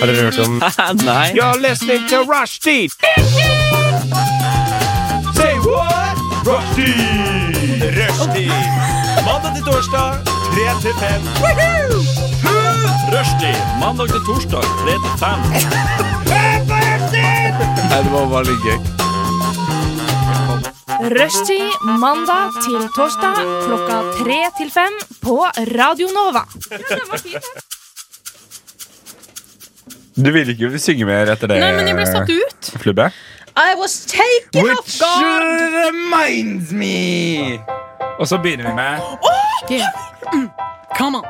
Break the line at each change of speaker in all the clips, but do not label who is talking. Har dere hørt om
Nei.
You're listening to Rushdie. Say what? Rushdie. Rushdie. Mandag til torsdag, 3 til 5. Rushdie. Mandag til torsdag, 3 til 5.
Nei, det var bare litt gøy.
Rushtid mandag til torsdag klokka tre til fem på Radio Nova.
Du ville ikke synge mer etter det?
Nei, men jeg ble satt ut.
Flubbe?
I was taken off
Which
guard.
reminds me Og så begynner vi med
Yeah. Mm. Come on.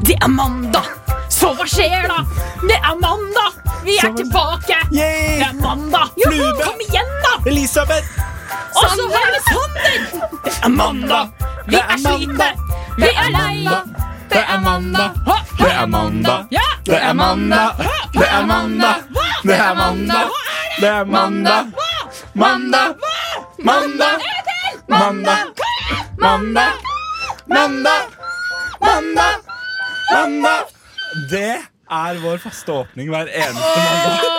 Det er mandag, så hva skjer da? Det er mandag, vi er tilbake. Det er mandag. Kom igjen, da! Elisabeth. Og så er det Sander. Det er mandag. Vi er slitne. Vi er lei. Det er mandag. Det er mandag. Ja.
Det er mandag, det er mandag, det er mandag, det er mandag, mandag, mandag, mandag, mandag, mandag, mandag, mandag. Det er vår faste åpning hver eneste mandag.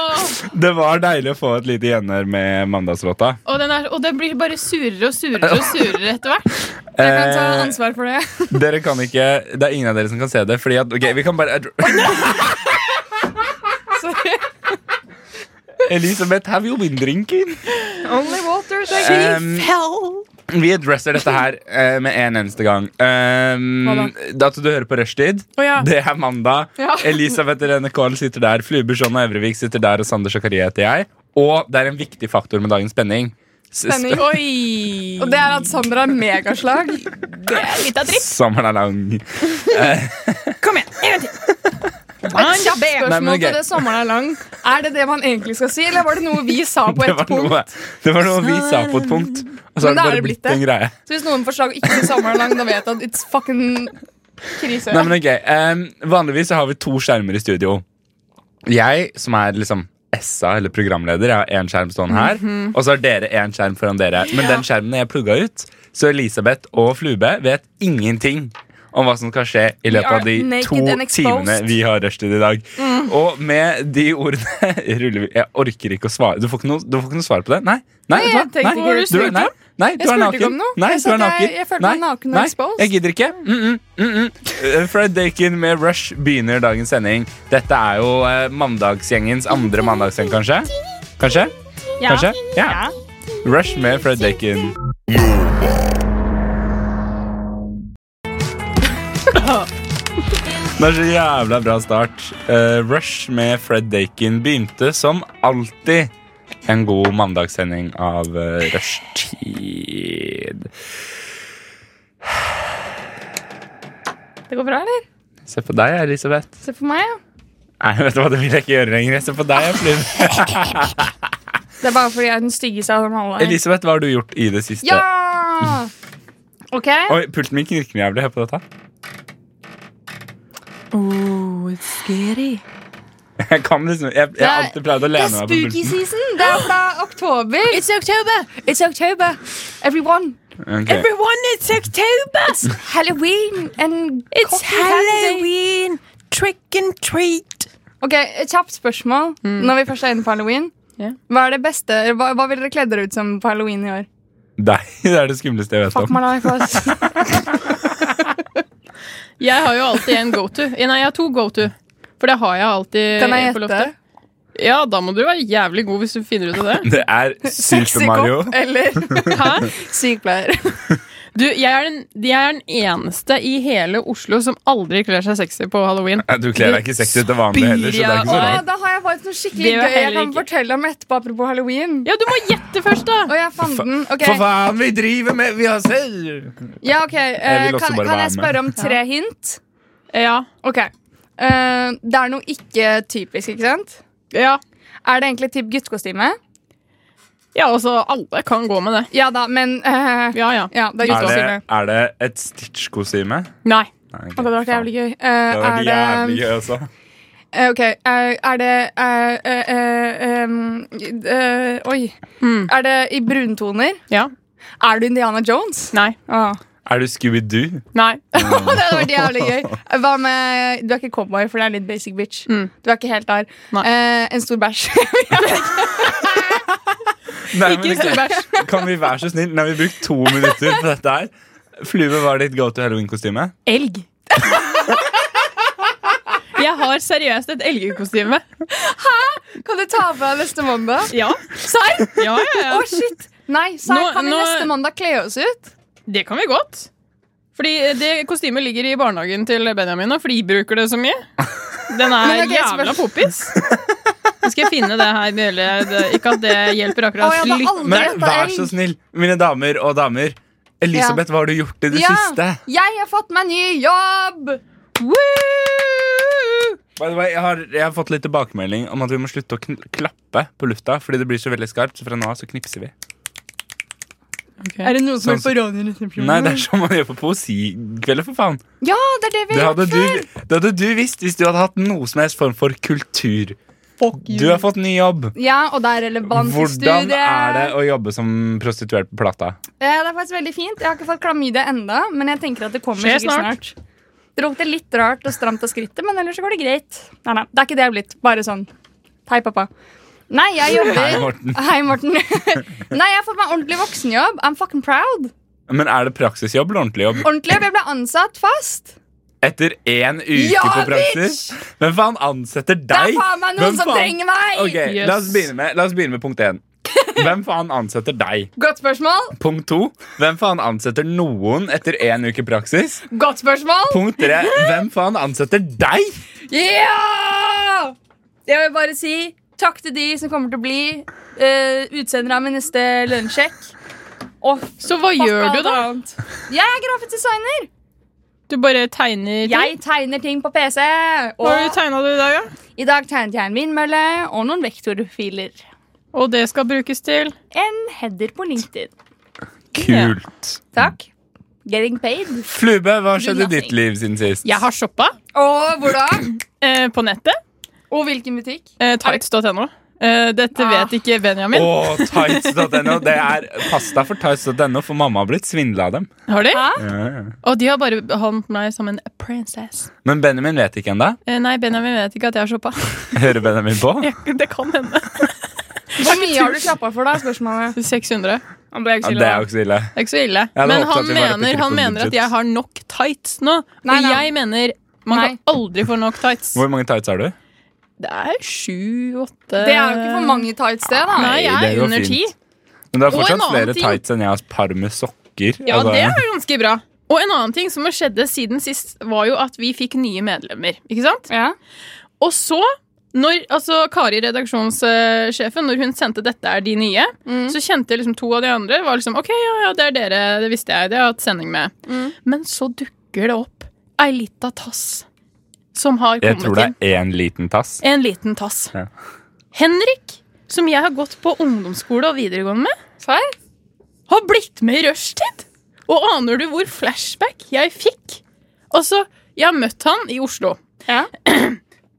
Det var deilig å få et lite gjenhør med mandagslåta.
Og, den er, og det blir bare surere og surere og surere etter hvert.
Jeg
kan ta ansvar for det.
Dere kan ikke, Det er ingen av dere som kan se det. Fordi at, ok, vi kan bare Elisabeth, have you been drinking?
Only water,
Um, vi addresser dette her eh, med en eneste gang. Um, da? At du hører på Rushtid.
Å ja.
Det er mandag.
Ja.
Elisabeth Irene Kohl sitter der. Fluber John og Evrevik sitter der. Og Sander Zakaria heter jeg. Og det er en viktig faktor med dagens spenning. S-
Spenning.
Oi!
Og det er at Sander har megaslag.
det er litt av dritt.
Sommeren er lang.
Kom igjen, en gang til.
Nei, men
Spørsmål
det er gøy.
til det sommeren er lang. Er det det man egentlig skal si, eller var det noe vi sa på
Det
et
var,
punkt?
noe, det var noe vi sa på et punkt, og så har
Men
det
da er
bare
det blitt
blitt en
det.
greie.
Så hvis noen forslag ikke til sommeren er lang, da vet jeg at it's fucking krise.
Nei, men ok Em, Vanligvis så har vi to skjermer i studio Jeg som er liksom SA eller programleder Jeg har en skjerm stående her
Mhm.
Og så har dere en skjerm foran dere Men den skjermen er plugget ut Så Elisabeth og Flube vet ingenting om hva som skal skje i løpet av
are
de
naked
to
and exposed. Mm.
timene vi har rushtid i dag. Og med de ordene ruller vi Jeg orker ikke å svare. Du får ikke noe, du får ikke noe svar på det? Nei? Nei, vet
Nei,
du hva?
jeg tenkte ikke
nei.
hva du
Du-
spurte
nei.
om.
Nei, du er
Jeg spurte ikke
naken.
om noe.
Nei,
Jeg
du
sa
er
at jeg-
naken.
jeg følte
Nei,
meg naken og
nei,
exposed.
Jeg gidder ikke. Mm -mm, mm -mm. Eh, Fred Dakin med Rush begynner dagens sending. Dette er jo eh, mandagsgjengens andre mandagsgjeng, kanskje? Kanskje? Kanskje? Ja. Rush med Fred Dakin. Det er så jævla bra start. Eh, Rush med Fred Dakin begynte som alltid en god mandagssending av uh, rushtid.
Det går bra, eller?
Se på deg, Elisabeth.
Se på meg, ja.
Nei, vet du hva, det vil jeg ikke gjøre lenger. Se på deg, Flum.
Det er bare fordi jeg er den styggeste av dem alle. her.
Elisabeth, hva har du gjort i det siste?
Ja! OK.
Oi, pulten min knirker noe jævlig. Hør på dette.
Oh, it's scary.
Jeg kan liksom Jeg jeg har alltid pleid å lene meg på pulten.
season! Det er fra oktober.
It's October!
It's October. Everyone.
Ok.
Everyone, it's October!
Halloween and
It's
cotton candy.
Halloween! Trick and treat!
Ok, et Kjapt spørsmål når vi først er inne på halloween.
Ja.
Hva er det beste, hva, hva vil dere kle dere ut som på halloween i år?
Deg. Det er det skumleste jeg vet
Fuck
om.
my life, ass.
Jeg har jo alltid en go-to. Eh, Nei, jeg har to go-to. For det har jeg alltid
Kan jeg
på
gjette?
loftet. Ja, da må du være jævlig god hvis du finner ut av det.
Det er Super Mario.
Sexykopp eller
Hæ?
sykepleier?
Du, jeg er, den, jeg er den eneste i hele Oslo som aldri kler seg sexy på halloween.
Nei, Du kler deg ikke sexy til vanlig heller, så det er ikke så
Spyr jeg
rart.
da har jeg faktisk noe skikkelig
Det var
gøy jeg
heller
kan
ikke-
fortelle om etterpå, apropos halloween.
Ja, du må gjette først, da!
Å, jeg fant den. Ok,
For faen, vi driver med Vi har selv
ja, ok eh,
vil også bare
kan, kan jeg
være med.
spørre om tre hint?
Ja.
Ok. Eh, det er noe ikke typisk, ikke sant?
Ja,
Er det egentlig typ guttekostyme?
ja altså, alle kan gå med det.
Ja da, men eh,
Ja, ja.
Ja,
Er
det er
det,
guttekostyme.
er det et Stitch-kostyme?
Nei.
Nei, ok,
Det hadde vært
faen.
jævlig gøy. Eh,
Det hadde vært
er
jævlig
det,
gøy også.
eh, ok, eh, er det eh, eh, eh, em, eh,
Hmm.
Oi. Er det i bruntoner?
Ja.
Er du Indiana Jones?
Nei.
Ah.
Er du Scooby-Doo?
Nei.
det hadde vært jævlig gøy. Hva med Du er ikke cowboy, for det er litt basic bitch. Du er ikke helt der.
Hmm. Nei.
Eh, en stor bæsj.
Nei,
ikke en stor
kan,
bæsj.
kan vi være så snill? Nå har vi brukt to minutter på dette her. Flue, hva er ditt go to halloween-kostyme?
Elg. Jeg har seriøst et elgkostyme.
Kan du ta på deg neste mandag?
Ja.
Serr?
Ja, ja,
Å,
ja.
shit! Nei, serr,
Nå-
kan vi
nå-
neste mandag kle oss ut?
Det kan vi godt. Fordi det kostymet ligger i barnehagen til Benjamin, og fordi de bruker det så mye. Den er
Men ok,
jævla
spørs-
poppis. Nå skal jeg finne det her bildet. Det- Ikke at det hjelper akkurat.
Å, jeg hadde aldri
Men
gjetta
vær
elg.
så snill, mine damer og damer. Elisabeth, hva har du gjort i det
Ja,
siste?
jeg har fått meg ny jobb!
By the way, jeg, har, jeg har fått litt tilbakemelding om at vi må slutte å kn klappe på lufta. Fordi det blir så veldig skarpt, så fra nå av så knipser vi.
Ok.
det noen
Sånn som er på Nei, det er som man gjør på poesikvelder, for faen.
Ja, det er Mhm. det vi
Det
har
hadde,
gjort
du,
før!
det hadde du visst hvis du hadde hatt noe som helst form for kultur. Du har fått ny jobb.
Ja, og det er relevant til
Hvordan
studiet.
er det å jobbe som prostituert på Plata?
Eh, det er faktisk veldig fint. Jeg har ikke fått klamydia enda, men jeg tenker at det kommer
Skjer
sikkert snart. Det lukter litt rart og stramt av skrittet, men ellers så går det greit. Nei, nei, det er ikke det jeg har blitt. Bare sånn. Hei, pappa. Nei, jeg jobber
Hei, Morten.
Hei, Morten. nei, jeg har fått meg ordentlig voksenjobb. I'm fucking proud.
Men er det praksisjobb eller ordentlig jobb?
Ordentlig jobb. Jeg ble ansatt fast.
Etter én uke
Ja,
på praksis? Hvem faen ansetter deg?
Det er faen meg noen
Hvem
som
faen-
trenger meg!
Ok,
Yes.
la, oss begynne med, la oss begynne med punkt én. Hvem faen ansetter deg?
Godt spørsmål.
Punkt to. Hvem faen ansetter noen etter én uke praksis?
Godt spørsmål.
Punkt tre. Hvem faen ansetter deg?
Ja! Jeg vil bare si takk til de som kommer til å bli eh, utsendere av min neste lønnssjekk. Og
Så hva
fuck
gjør du,
alt
da?
annet. Jeg er grafisk designer.
Du bare tegner ting?
Jeg tegner ting på PC.
Hva har du
Og
tegna du i dag, da?
i dag tegnet jeg en vindmølle og noen vektorfiler.
Og det skal brukes til?
En header på LinkedIn.
Kult.
Takk. Getting paid.
Flube, hva har skjedd i
Nothing.
ditt liv siden sist?
Jeg har shoppa
Og hvor da?
eh, på nettet.
Og hvilken butikk?
Eh, Tights.no. Eh, dette
Ah.
vet ikke Benjamin.
Åh, tights.no. Det er pasta for tights.no, for mamma har blitt svindla av dem.
Har de?
Hæ?
Ja, ja.
Og de har bare behandlet meg som en princess.
Men Benjamin vet ikke ennå.
Eh, nei, Benjamin vet ikke at jeg har shoppa.
Hører Benjamin på?
det kan hende.
Hvor mye har du klappa for, da? Spørsmålet.
600.
Han ble
Ja, det er jo ikke så ille.
Det er ikke så ille.
hadde
Men
håpet at
han
vi var litt
mener,
bedre på
han mener at
budget.
jeg har nok tights nå.
Nei,
Og
nei.
jeg mener man
Nei.
kan aldri få nok tights.
Hvor mange tights har du?
Det er sju, åtte
Det er jo ikke for mange tights, det, da.
Nei, jeg
det
er
går
under ti.
fint. Men det er
Og en
fortsatt
annen
flere
ting.
tights enn jeg har par med sokker.
Ja,
Altså,
det er ganske bra. Og en annen ting som har skjedd siden sist, var jo at vi fikk nye medlemmer. Ikke sant?
Ja.
Og så, når altså, Kari, redaksjonssjefen, når hun sendte 'Dette er de nye', så kjente jeg liksom to av de andre. var liksom, ok, ja, ja, Det er dere, det visste jeg, det har jeg hatt sending med. Men så dukker det opp ei lita tass som har
Jeg
kommet
tror det
inn.
er én liten tass.
En liten tass.
Ja.
Henrik, som jeg har gått på ungdomsskole og videregående med,
Serr?
har blitt med i rushtid! Og aner du hvor flashback jeg fikk? Altså, jeg har møtt han i Oslo,
Ja.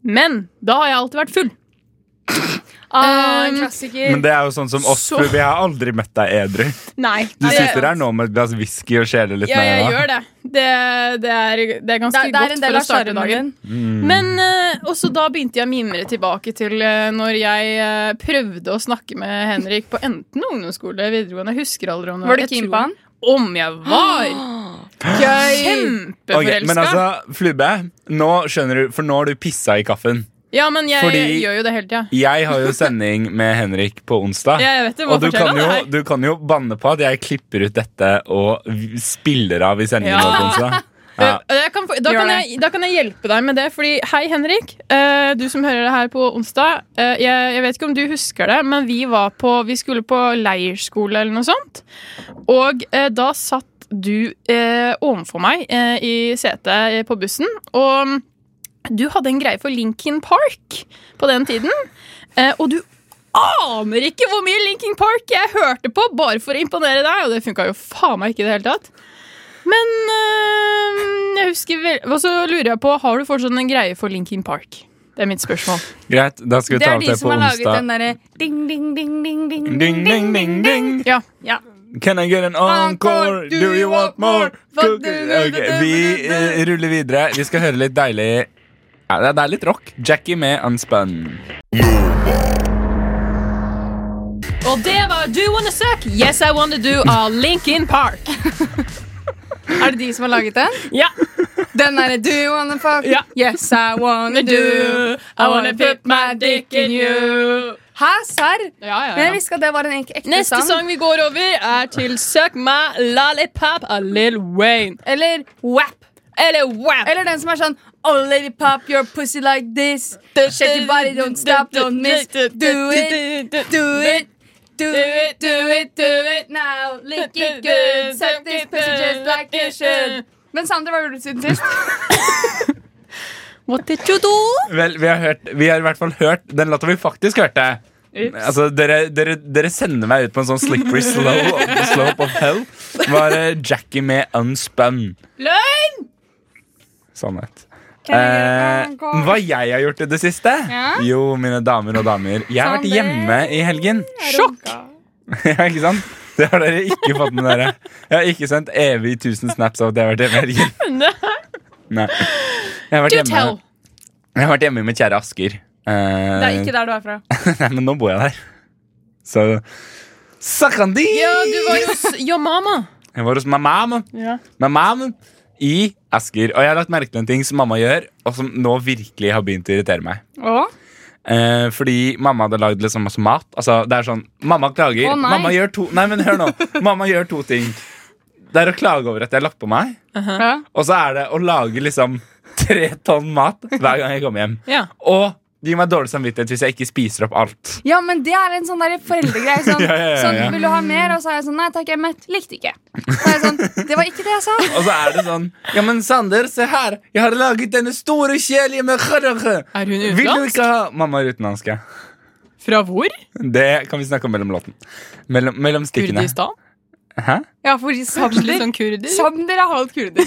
men da har jeg alltid vært full.
Ah, en
Um,
klassiker.
Men det er jo sånn som oss,
Så-
for vi har aldri møtt deg edru.
Nei.
Du
det-
sitter her nå med et glass whisky og skjeler litt
Ja,
med
jeg
deg, da.
gjør det. Det, det, er, det er
det,
ganske
det er en
godt
del
for å
av
starte dagen.
sjarmen.
Men
Mm.
eh, også da begynte jeg å mimre tilbake til eh, når jeg eh, prøvde å snakke med Henrik på enten ungdomsskole eller videregående. Jeg husker aldri om det
Var du
jeg
keen
tror-
på han?
Om jeg var!
Ok,
Kjempeforelska.
men altså, Flube, nå skjønner du, for nå har du pissa i kaffen.
ja, men jeg
fordi-
gjør jo det hele tida.
Jeg har jo sending med Henrik på onsdag.
Ja, jeg vet det, hva
Og du
forteller
kan, jo,
han her?
du kan jo banne på at jeg klipper ut dette og v- spiller av i sendingen
Ja.
vår på onsdag. Ja.
Eh, Jeg kan, få- da,
Gjør
kan
det.
jeg, da kan jeg hjelpe deg med det. Fordi, hei, Henrik. eh, du som hører det her på onsdag. eh, jeg, jeg vet ikke om du husker det, men vi, var på, vi skulle på leirskole eller noe sånt. Og eh, da satt du eh, ovenfor meg eh, i setet eh, på bussen. Og mm, du hadde en greie for Linkin Park på den tiden. eh, og du aner ikke hvor mye Linkin Park jeg hørte på bare for å imponere deg, og det funka jo faen meg ikke i det hele tatt. Men eh, jeg husker vel Og så lurer jeg på, har du fortsatt en greie for Linkin Park? Det er mitt spørsmål.
Greit, da skal vi
Det
ta
er
opp
de
det
som
på
har laget den
onsdag.
derre ding, ding, ding, ding, ding,
Ding, ding, ding, ding.
Ja.
Ja.
Can I get an encore? Do you want more? Cook- Ok, vi eh, ruller videre. Vi skal høre litt deilig ja, det er- Det er litt rock. Jackie med Unspun.
Og det var Do Wanna Suck, Yes I Wanna Do av Linkin Park.
Er det de som har laget den?
Ja.
Den derre Do you wanna fuck?
Ja.
Yes, I wanna do. I wanna put my dick in you. Hæ, serr?
Ja, ja,
Men jeg
ja.
visste at det var en ek- ekte
Neste
sang.
sang vi går over, er til Suck My Lollipop av Lil Wayne.
Eller WAP.
Eller WAP.
Eller den som er sånn Oh, lady pop your pussy like this. Shake your body, don't stop, don't miss. Do it, do it. Do it, do it, do it now. Lick it good. Suck this pussy just like you should. Men Sander, hva gjorde du siden sist?
What did you do?
Vel, vi har, hørt, vi har i hvert fall hørt den låta vi faktisk hørte. Altså, dere, dere, dere sender meg ut på en sånn slippery slow, slope of hell. Var eh, Jackie med Unspun.
Løgn!
Sannhet.
jeg
Eh,
gjøre noe?
hva jeg har gjort i det siste?
Ja?
Jo, mine damer og damer. Jeg har vært
Sander.
hjemme i helgen.
Sjokk!
Ja, ikke sant? Det har dere ikke fått med dere. Jeg har ikke sendt evig 1000 snaps av at jeg har vært hjemme i helgen.
Nei.
Nei. Jeg har vært
Do
hjemme,
tell.
jeg har vært hjemme med kjære Asker. Eh,
Det er ikke der du er fra.
Nei, men nå bor jeg der. Så Sakandi!
Ja, du var jo hos Yo Mama.
Jeg var hos mamma,
Ja.
mamma i Asker. Og jeg har lagt merke til en ting som mamma gjør, og som nå virkelig har begynt å irritere meg.
Og?
Eh, fordi mamma hadde lagd liksom masse mat. Altså, det er sånn, Mamma klager.
Å, nei.
Mamma gjør to Nei, men hør nå. mamma gjør to ting. Det er å klage over at jeg har lagt på meg,
Ja.
og så er det å lage liksom tre tonn mat hver gang jeg kommer hjem.
Ja.
Og det gir meg dårlig samvittighet hvis jeg ikke spiser opp alt.
Ja, men det er en sånn der foreldregreie. Sånn,
Ja, ja, ja, ja.
sånn, 'Vil du ha mer?' Og så er jeg sånn 'Nei takk, jeg er mett'. Likte ikke. Så er jeg sånn, det var ikke det jeg sa.
Og så er det sånn Ja, men Sander, se her. Jeg har laget denne store kjelen med kharrarre.
Er
Vil
hun
du
utenlandsk?
ikke ha Mamma er utenlandsk, ja.
Fra hvor?
Det kan vi snakke om mellom låten. Mellom, mellom stikkene.
Kurdistan?
Hæ?
Ja, fordi
Litt
Sander
sånn kurder?
Sander er halvt kurder.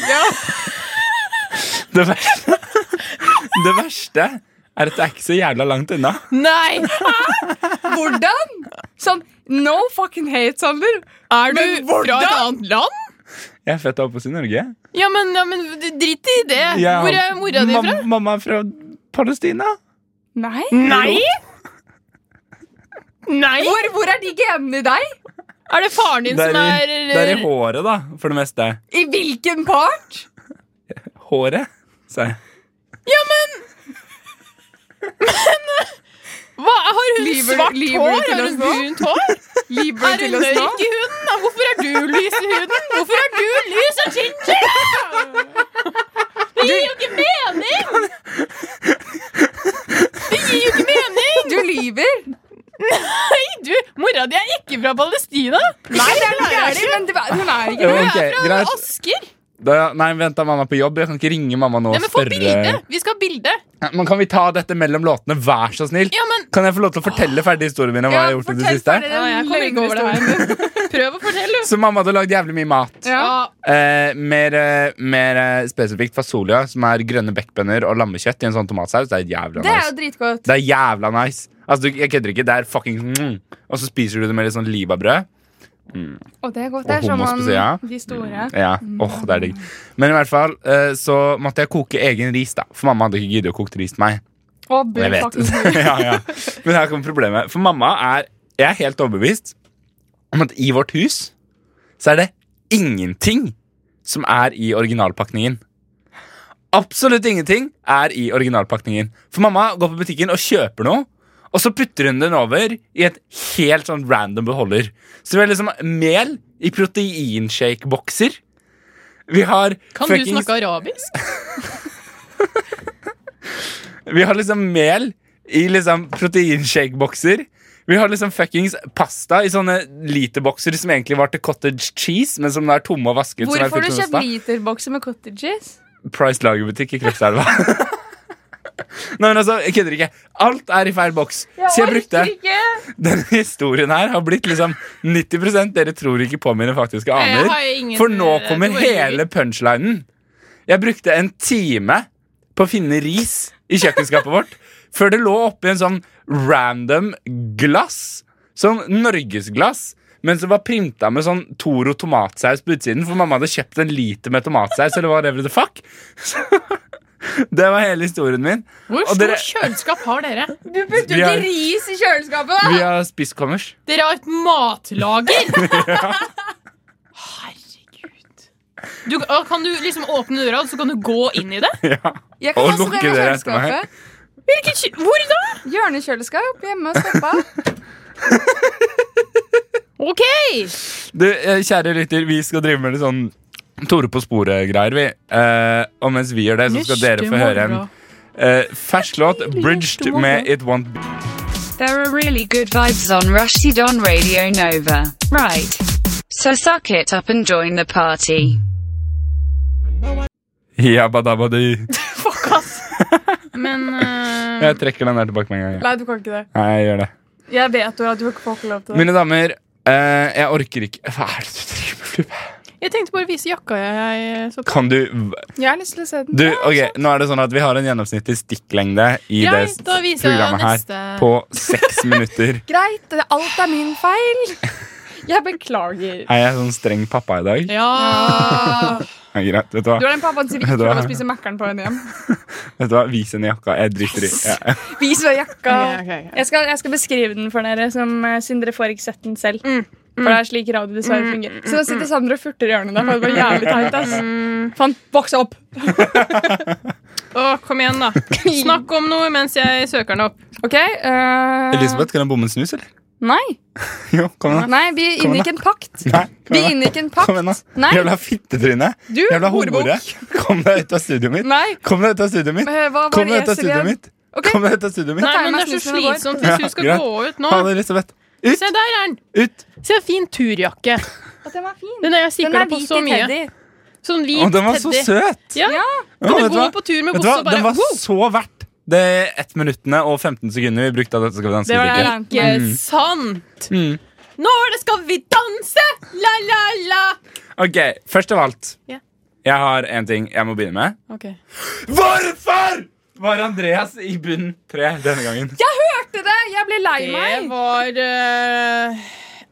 Det verste, det verste er at det er ikke så jævla langt unna.
Nei!
Hvordan? Sånn no fucking hate, Sander.
Er du
Men
fra et
hvordan?
annet land?
Jeg er født og oppvokst i Norge.
Ja, men, ja, men drit i det.
Jeg-
Hvor er mora di fra?
Mam- Mamma er fra Palestina.
Nei?
Nei! Nei!
Hvor, hvor er de genene i deg?
Er det faren din
Det er,
som
i,
er eh,
det er i håret, da, for det meste.
I hvilken part?
Håret, sa jeg.
Hva, Har hun
Lyver-
svart
lyver du
hår?
til
Har
oss
hun
nå?
brunt hår?
Liber
Er hun mørk i huden? Hvorfor er du lys i huden? Hvorfor er du lys og ginger? Det gir jo ikke mening! Det gir jo ikke mening!
Du lyver.
Nei, du, mora di er ikke fra Palestina.
Nei, det er det ikke. Men det, hun er ikke
Jo,
Hun
det.
er
ok,
fra
greit.
Asker.
Da, nei, vent, da, mamma er på jobb. Jeg kan ikke ringe mamma nå
Nei,
og
men få bilde.
spørre.
Vi skal ha bilde.
Ja, Men kan vi ta dette mellom låtene, vær så snill?
Ja, men um,
Kan jeg få lov til å fortelle ferdig historien min om hva jeg har gjort i det siste?
Ja, jeg kommer ikke over det her. prøv å fortelle.
Så mamma hadde lagd jævlig mye mat.
Ja.
Ja.
Eh, mer, eh, mer eh, spesifikt fasolia, som er grønne bekkbønner og lammekjøtt i en sånn tomatsaus. Det er jævla
Det er jo
nice.
dritgodt.
Det er jævla nice. Altså, du, jeg kødder ikke. Det er fucking mm. Og så spiser du det med litt sånn libabrød.
Og det er godt.
Og
Det er som
hummus
om
på sida.
de store
Ja, åh, det er digg. Men i hvert fall eh, så måtte jeg koke egen ris, da. For mamma hadde ikke giddet å koke ris til meg.
Og bur
Jeg vet.
fucking
ja, ja. Men her kommer problemet. For mamma er Jeg er helt overbevist om at i vårt hus så er det ingenting som er i originalpakningen. Absolutt ingenting er i originalpakningen. For mamma går på butikken og kjøper noe, og så putter hun den over i et helt sånn random beholder. Så vi har liksom mel i proteinshake-bokser. Vi har
Kan du
fuckings-
snakke arabisk?
Vi har liksom mel i liksom proteinshake-bokser. Vi har liksom fuckings pasta i sånne literbokser som egentlig var til cottage cheese, men som nå er tomme og vasket.
Hvor
som er
får du
fullt av
kjøpt
pasta.
literbokser med cottage cheese?
Price lagerbutikk i Krokselva. Nei, men altså, jeg kødder ikke. Alt er i feil boks. Så jeg brukte
ikke!
Denne historien her har blitt liksom 90 Dere tror ikke på mine faktiske aner.
Jeg har ingen- eh,
For nå kommer
jeg tror-
hele punchlinen. Jeg brukte en time på å finne ris i kjøkkenskapet vårt før det lå oppi en sånn random glass. Sånn norgesglass Men som var printa med sånn Toro tomatsaus på utsiden, for mamma hadde kjøpt en liter med tomatsaus. Eller whatever the fuck Så- Det var hele historien min.
Hvor
Og
stort
dere-
kjøleskap har dere?
Du putter
Vi
jo
har-
ikke ris i kjøleskapet!
Vi
da.
har spist kommers.
Dere har et matlager! Herregud. Du, og kan du liksom åpne døra, og så kan du gå inn i det?
Jeg
Og
kan også
lukke
dele
dere etter meg.
kjøleskapet.
Hvilken kjø- Hvor da?
Hjørnekjøleskap hjemme hos pappa.
Ok!
Du, eh, kjære lytter, vi skal drive med litt sånn Tore på sporet-greier, vi. Eh, og mens vi gjør det, så skal dere få høre en eh, fersk låt, 'Bridged', med It Won't Be.
There are really good vibes on Rushdie on Radio Nova. Right. So suck it up and join the party.
Yabadabadi.
Fuck, ass. Men eh,
Jeg trekker den der tilbake med en gang. jeg.
Nei, du kan ikke det.
Nei, jeg gjør det.
Jeg vet jo at du ikke får ikke lov til det.
Mine damer, eh, jeg orker ikke Hva er det du driver med, Flube?
jeg tenkte bare å vise jakka jeg, jeg så på.
Kan du
Jeg har lyst til å se den.
Du,
altså.
ok, nå er det sånn at vi har en gjennomsnittlig stikklengde i
Greit,
det
da
s-
viser jeg
programmet
neste.
her på seks minutter.
Greit, det- alt er min feil. Jeg beklager.
Er jeg sånn streng pappa i dag?
Ja
Ja, greit, vet du hva?
Du er den pappaen som ikke
Det
får lov
var-
å spise Mækkern på en hjem.
Vet du hva? Vis henne jakka. Jeg driter i ja.
Vis meg jakka.
Ok, ok, ok.
Jeg, skal, jeg skal beskrive den for dere, som, eh, siden dere får ikke sett den selv.
Mm,
For det er slik radio dessverre fungerer. Så nå sitter Sander og furter i hjørnet der, for det
Mm.
var jævlig teit. ass. Faen, voks opp!
Å, kom igjen, da. Snakk om noe mens jeg søker den opp.
OK. eh,
Elisabeth, kan jeg bomme en snus, eller?
Nei.
Jo, kom igjen, da.
Nei, vi
Kom igjen,
inngikk en pakt.
Nei, kom
Vi
igjen,
inngikk en
da. Kom igjen, da.
pakt. Nei.
Jævla fittetryne.
Du,
Jævla
horebukk.
hore. Kom deg ut av studioet mitt.
Nei.
Kom deg ut av studioet mitt.
eh, Hva var
Kom
det
deg ut av studioet mitt.
Ok.
Kom deg ut av studioet mitt.
Nei,
tar jeg
men
meg
det er så
snusen og går.
slitsomt hvis
Ja,
du skal
greit.
gå ut nå.
Ha det, Elisabeth. Ut,
Se, der er den.
ut.
Se, fin turjakke.
At den var fin.
Den er jeg
Den
sikla
er
på
hvit
så
i
mye.
teddy.
Sånn hvit
Å, den var så
teddy.
søt.
Ja.
Ja.
Kan
Ja,
du
vet du
gå
hva?
på tur med
Vet du
Bosse
hva,
og
den
bare
var
wow,
så verdt det 1 minuttene og 15 sekundene vi brukte av dette skal vi danse.
Det var
Ulrikke.
Mm.
ikke sant! Mm. Nå er det skal vi danse! La, la, la!
Ok, først av alt.
Ja.
Jeg har en ting jeg må begynne med.
Ok.
Hvorfor var Andreas i bunn tre denne gangen?
Hørte det? Jeg ble lei
Det
meg.
var eh,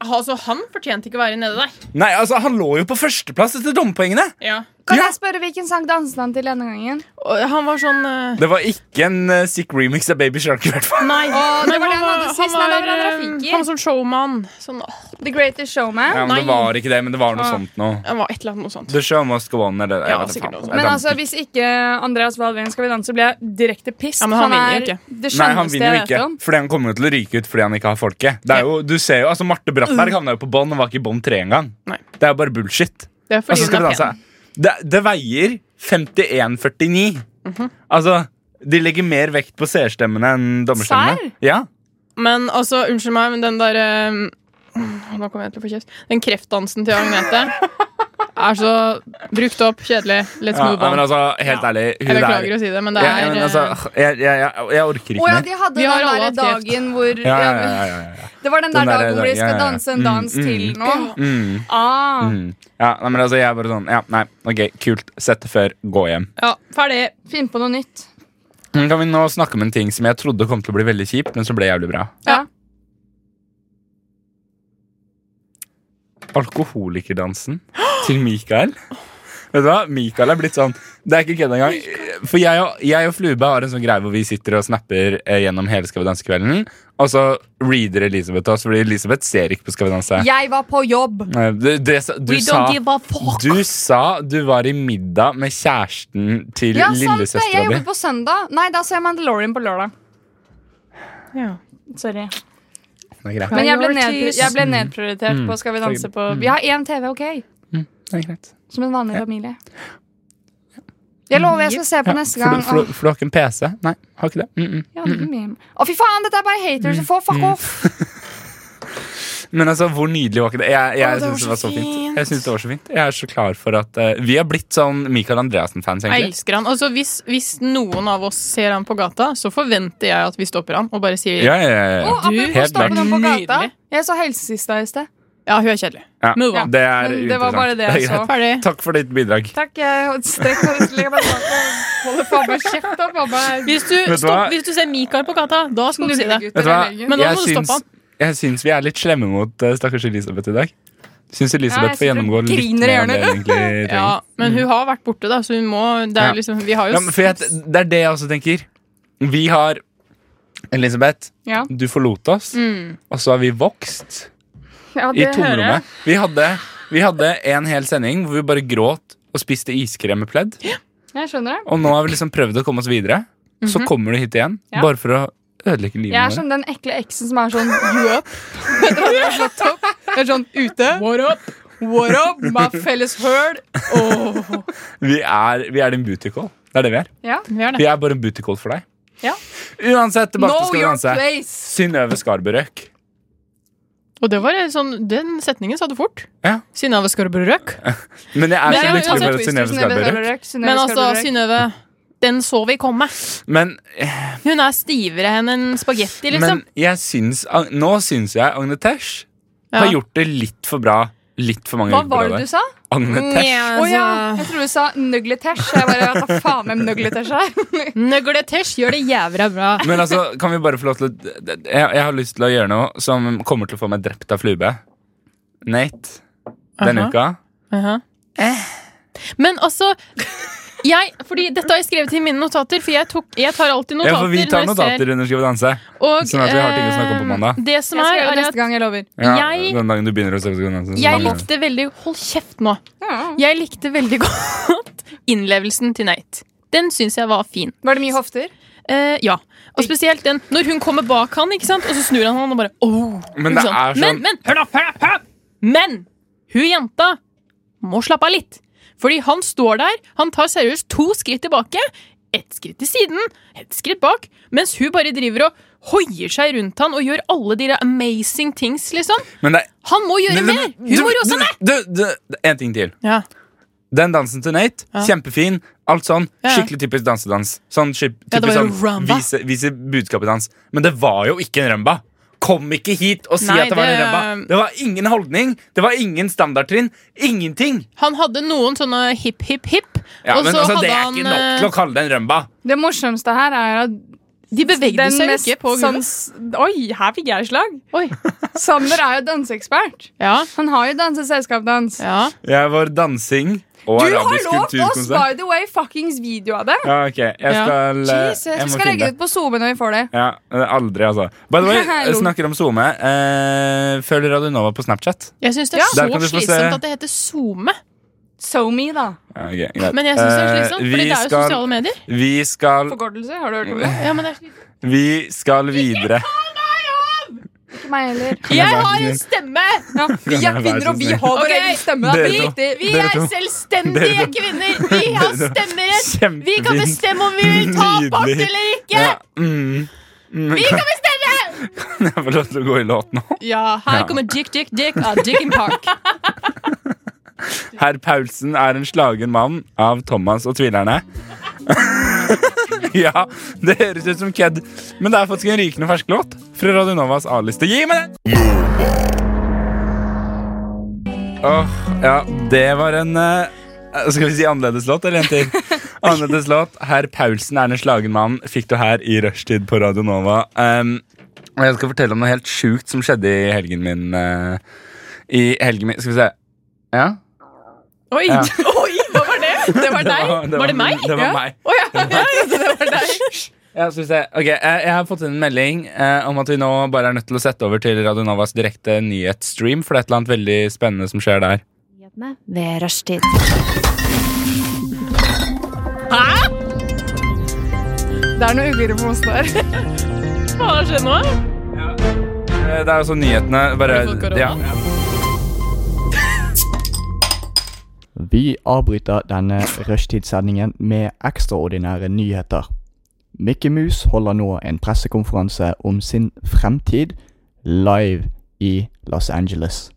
Altså, han fortjente ikke å være nede der.
Nei, altså, Han lå jo på førsteplass etter dompoengene.
Ja.
Kan
Ja.
jeg spørre hvilken sang danset han til denne gangen?
Og han var sånn eh,
Det var ikke en eh, sick remix av Baby Shark. i hvert fall
Nei.
Å, det
Men
var det han
var-
hadde sist. Nei, det var han
eh,
Rafiki.
han var sånn showman. Sånn, åh,
The Greatest Showman.
Ja, men Det
Nei.
var ikke det, men det var noe sånt noe.
han var et eller annet noe sånt.
The show must go on. Eller, jeg
Ja,
vet ikke
sikkert
faen.
noe sånt.
Jeg
Men
dam-
altså, hvis ikke Andreas Valvin skal vi danse, blir jeg direkte pissed.
Ja, men han vinner jo
er
ikke.
Nei, han
Det skjønneste
vinner
jeg
jo
vet
ikke.
om.
Fordi han kommer jo til å ryke ut fordi han ikke har folket. Det er jo, du ser jo, altså Marte Brattberg havna jo på bånn og var ikke i bånn tre engang.
Mm. Nei.
Det er jo bare bullshit.
Det er
Og så
fordi
altså, skal vi
hun er
danse.
pen.
Det, det veier 51,49.
Mhm.
Altså, de legger mer vekt på seerstemmene enn dommerstemmene.
Serr?
Ja.
Men altså, unnskyld meg, men den der eh, Nå kommer jeg til å få kjeft. Den kreftdansen til Agnete er så brukt opp, kjedelig. Let's
ja,
move
nei,
on.
men altså, helt
Ja.
ærlig, hun
jeg
der
beklager å si det, men det
ja,
er
ja, men
eh,
altså, jeg, jeg, jeg, jeg orker
Å
ikke
ja,
mer.
de hadde
Vi har
den
alle
derre
hatt kreft.
dagen hvor
Ja, ja, ja, ja, ja, ja.
Det var den
Den
der
der
dagen hvor de
dagen, ja,
skal
ja.
danse en
Mm,
dans
mm,
til nå.
Mm,
Ah.
mm. ja nei, men altså, jeg er bare sånn Ja, nei, ok, kult. Sett det før. Gå hjem.
Ja, ferdig.
Finn på noe nytt.
Men Kan vi nå snakke om en ting som jeg trodde kom til å bli veldig kjipt, men som ble jævlig bra?
Ja.
Alkoholikerdansen til Mikael. Vet du hva? Mikael er blitt sånn Det er ikke kødd engang. For jeg og, jeg og Flube har en sånn greie hvor vi sitter og snapper eh, gjennom hele Skal vi danse-kvelden. Og så reader Elisabeth oss, fordi Elisabeth ser ikke på Skal vi danse.
Jeg var på jobb.
Nei, Det, det, sa- du, sa, du sa du var i middag med kjæresten til
Ja, sant det. Jeg
lillesøstera di.
jobbet på søndag. Nei, da ser jeg Mandalorian på lørdag.
Det
Sorry.
er greit.
Men jeg ble, nedpri
Priorities.
jeg ble nedprioritert
Mm.
på Skal vi danse på Vi har én TV, OK?
Det er greit.
Som en vanlig familie. Jeg lover jeg skal se på neste
for,
gang.
du- for, du- for du har ikke en PC? Nei, har ikke det. Mm -mm.
Ja, det blir mye. Å, fy faen, dette er bare haters. Få fuck off!
Men altså, hvor nydelig var ikke det? Jeg, jeg
Å, det var
synes det
så
var så fint.
fint.
Jeg synes det var så fint. Jeg er så klar for at eh, Vi er blitt sånn Michael Andreassen-fans,
Jeg
egentlig.
elsker han. Altså, hvis, hvis noen av oss ser han på gata, så forventer jeg at vi stopper han og bare sier
Ja, ja, ja, ja.
Og apropos
helt
stoppe
klart.
noen på gata.
Nydelig.
Jeg så helsesista i sted.
Ja, hun er kjedelig.
ja.
Move on.
Det er
Men det
uinteressant.
var bare det
er
jeg
greit.
så.
Ferdig.
Takk for ditt bidrag.
Takk. Jeg strekker meg legger meg bak og holder faen meg kjeft opp.
Hvis du,
hva?
stopp, hvis du ser Mikael på gata, da skal du si det.
Vet du hva?
Men nå
Jeg
må du stoppe
syns-
han.
Jeg syns vi er litt slemme mot eh, stakkars Elisabeth i dag. Syns
Ja, jeg
Elisabeth får
sitter og
gjennomgå litt
griner i
mer enn det
hjørnet.
hun egentlig trenger.
Ja, men hun har vært borte, da, så hun må det er
Ja.
liksom, Vi har jo
Ja, men for jeg, det er det jeg også tenker. Vi har Elisabeth,
Ja.
du forlot oss, og så har vi vokst
Ja,
i
det hører jeg.
tomrommet. Vi hadde, vi hadde en hel sending hvor vi bare gråt og spiste iskrem med pledd.
Jeg skjønner det.
Og nå har vi liksom prøvd å komme oss videre. Så kommer du hit igjen,
Ja.
bare for å ødelegge livet
Jeg er
vårt.
som den ekle eksen som er sånn you up.
Det er sånn ute. What up? What up, my felles høl? Åh.
Vi er, vi er din booty call. Det er det vi er.
Vi er
Vi
det.
er bare en booty call for deg.
Ja.
Uansett, tilbake til
Know
Skal vi
your
danse.
place!
Synnøve Skarbø røk.
Og det var en sånn, den setningen sa du fort.
Ja.
Synnøve Skarberg Røk.
Men jeg er
Men
så
ja,
lykkelig
uansett,
for at Synnøve Skarbø røk.
Men altså, Synnøve, den så vi komme.
Men
Hun er stivere enn en spagetti, liksom.
Men jeg syns, nå syns jeg Agne Tesh har
Ja.
gjort det litt for bra litt for mange
Hva
uker på
var det
rad.
du sa?
Agne Tesh.
Å ja,
Altså-
jeg trodde du sa nugletesh. Jeg bare, hva faen med nugletesh her?
Nøgletesh gjør det jævla bra.
Men altså, kan vi bare få lov til å jeg, jeg har lyst til å gjøre noe som kommer til å få meg drept av flube. Nate, denne
Aha.
uka.
Aha.
Eh.
Men altså jeg, fordi Dette har jeg skrevet i mine notater, for jeg, tok, jeg tar alltid notater.
Ja, for vi tar
når jeg ser-
notater under Skal vi danse.
og,
sånn at vi har ting å snakke om på
eh,
mandag.
Det som er,
Jeg skal gjøre
er
det
at
neste gang, jeg lover.
Ja,
Jeg-
den dagen du begynner å snakke Skal vi danse. så
jeg
danser vi.
likte veldig Hold kjeft nå. Jeg likte veldig godt innlevelsen til Nate. Den syns jeg var fin.
Var det mye hofter?
Eh, ja. Og spesielt den når hun kommer bak han, ikke sant? og så snur han han og bare oh,
Men
ikke
det
sant?
er sånn-
men, men, hør da, hør da, hør da! Men hun jenta må slappe av litt. Fordi han står der, han tar seriøst to skritt tilbake, ett skritt til siden, ett skritt bak, mens hun bare driver og hoier seg rundt han og gjør alle de der amazing things, liksom.
Men det er
Han må gjøre mer! Hun må rose mer!
Du, du, du, en ting til.
Ja.
Den dansen til Nate, kjempefin. Alt sånn,
Ja, ja.
Skikkelig typisk dansedans. Sånn, skip-
Ja, det
typisk
var jo
sånn
rumba.
vise, vise budskapet dans. Men det var jo ikke en rumba. Kom ikke hit og si
Nei,
at det var en
det-
rumba. Det var ingen holdning, det var ingen standardtrinn. Ingenting.
Han hadde noen sånne hipp, hipp, hipp,
Ja,
og
men
så
altså,
hadde
Det er
han
ikke nok til å
eh,
kalle det en rumba.
Det morsomste her er at
De bevegde
den
seg jo
mest
ikke på gulvet.
sans... Oi, her fikk jeg slag.
Oi.
Sander er jo danseekspert.
Ja,
Han har jo danset selskapsdans.
ja.
Jeg var dansing og
Du har
arabisk
lovt oss,
kulturkonsert.
by the way, fuckings video av det.
Ja, ok, jeg
Ja.
skal, eh,
Jesus,
jeg
vi
må
skal
finne det.
legge det ut på SoMe når vi får det.
Ja, eh, aldri, altså. By the way,
Hallo.
jeg snakker om SoMe. Eh, følg Radio Nova på Snapchat.
Jeg syns det
Ja.
er
Der kan du
så
få se-
slitsomt at det heter SoMe.
SoMe, da.
Ja, ok, greit.
Men jeg syns det
Eh,
er slitsomt, for
vi
det er jo
skal-
sosiale medier.
Vi skal
Forkortelse, har du hørt om det?
Ja, men det er slitsomt.
Vi skal videre.
Ikke meg heller.
jeg har en stemme!
Ja, vi
Kan jeg
er
være
kvinner,
så
og vi
snill?
har vår
Ok,
egen stemme. da.
dere
Vi-
to.
Vi
Dere
er
to. Dere
selvstendige
to.
kvinner! Vi har
Dere to.
stemmerett! Vi kan
Kjempefint.
bestemme om vi vil ta abort
Nydelig.
eller ikke!
Ja, mm. Mm,
Vi
kan,
kan bestemme!
kan jeg få lov til å gå i låt nå?
Ja, her kommer Dick Dick Dick av Dick in Park.
Herr Paulsen er en slagen mann av Thomas og tvilerne. ja, det høres ut som kødd, men det er faktisk en rykende fersk låt fra Radio Novas A-liste. Gi meg den! Åh, ja, det var en eh, Skal vi si annerledes låt, eller en til? Annerledes låt. Herr Paulsen er en slagen mann fikk du her i rushtid på Radio Nova. Um, og jeg skal fortelle om noe helt sjukt som skjedde i helgen min. eh, I helgen min Skal vi se. Ja?
Oi,
Ja.
oi, hva var det? Det var deg?
var- det
Var det
var-
meg?
det var meg.
Å ja, jeg trodde det var deg.
Ja, skal vi se. Ok, eh, Jeg har fått inn en melding eh, om at vi nå bare er nødt til å sette over til Radio Novas direkte nyhetsstream, for det er et eller annet veldig spennende som skjer der.
ved rushtid.
Det er noe ugler på mosen der.
Hva skjedde nå?
Eh, Det er altså nyhetene bare
Har du fått korona?
ja.
Vi avbryter denne rushtidssendingen med ekstraordinære nyheter. Mikke Mus holder nå en pressekonferanse om sin fremtid live i Los Angeles.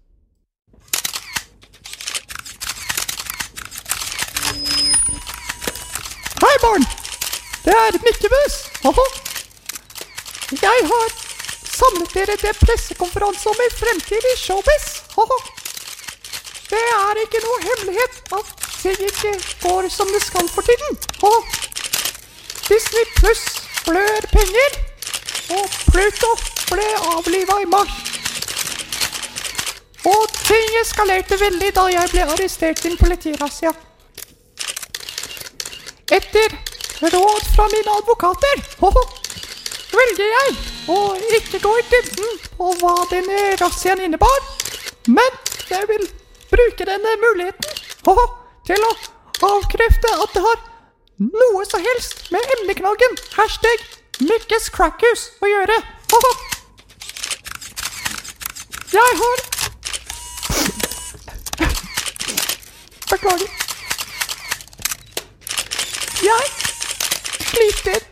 Hei, barn! Det er Mikke Mus! Haha. Jeg har samlet dere til pressekonferanse om min fremtid i showbiz. Haha. Det er ikke noe hemmelighet at ting ikke går som det skal for tiden. Og Disney Pluss blør penger, og Pluto ble avliva i mars.
Og ting eskalerte veldig da jeg ble arrestert i en politirassia. Etter råd fra mine advokater hoho, velger jeg å ikke gå i dybden på hva denne razziaen innebar, men jeg vil bruke denne muligheten hoho, til å avkrefte at det har noe som helst med emneknaggen hashtag Mikkes Crackhus å gjøre. Hoho. Jeg har Beklager. Jeg sliter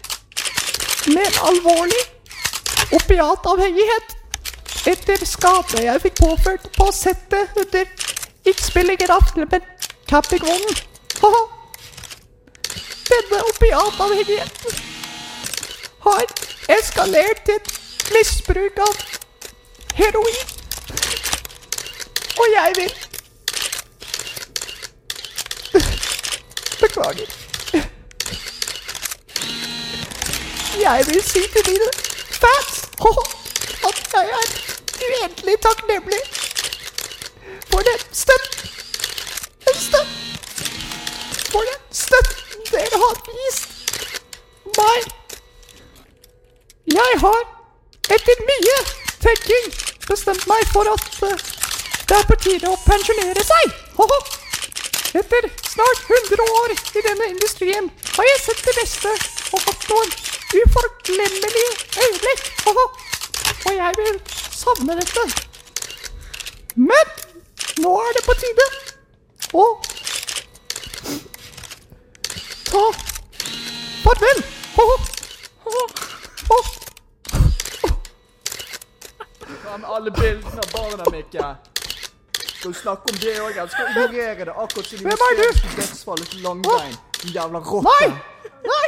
med en alvorlig opiatavhengighet etter skade jeg fikk påført på settet under innspillinger av filmen Capping One. Haha. Denne opiatavhengigheten har eskalert til et misbruk av heroin. Og jeg vil Beklager. Jeg vil si til mine fans haha, at jeg er uendelig takknemlig for den støtten Den støtten For den støtten dere har vist meg. Jeg har etter mye tenking bestemt meg for at eh, det er på tide å pensjonere seg. Haha. Etter snart 100 år i denne industrien har jeg sett det beste og hatt noen uforglemmelige øyeblikk. Haha. Og jeg vil savne dette. Men nå er det på tide å ta farvel. Haha. Haha. Haha.
Hva med alle bildene av barna, Mikke? Skal du snakke om det òg? Skal du ignorere det akkurat som du
Hvem er du?
justerer dødsfallet til Langbein? Din jævla rotte.
Nei! Nei!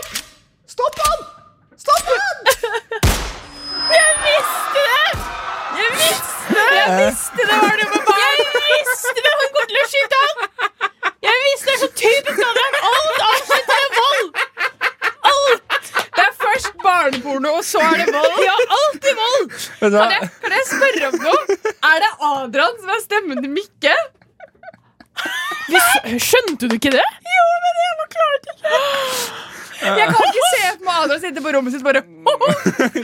Stopp han! Stopp han!
Jeg visste det! Jeg visste det var det med meg! Jeg visste det! Hun kommer til å skyte han! Jeg visste det er så typisk av dem! Alt avslutter med vold! Alt! Det er først barneporno, og så er det vold. Ja, alt er vold!
Vet du hva?
Kan jeg, kan jeg spørre om noe? Er det Adrian som er stemmen til Mikke? skjønte du ikke det? Jo, men jeg forklarte ikke. Jeg kan ikke se for meg Adrian sitte på rommet sitt bare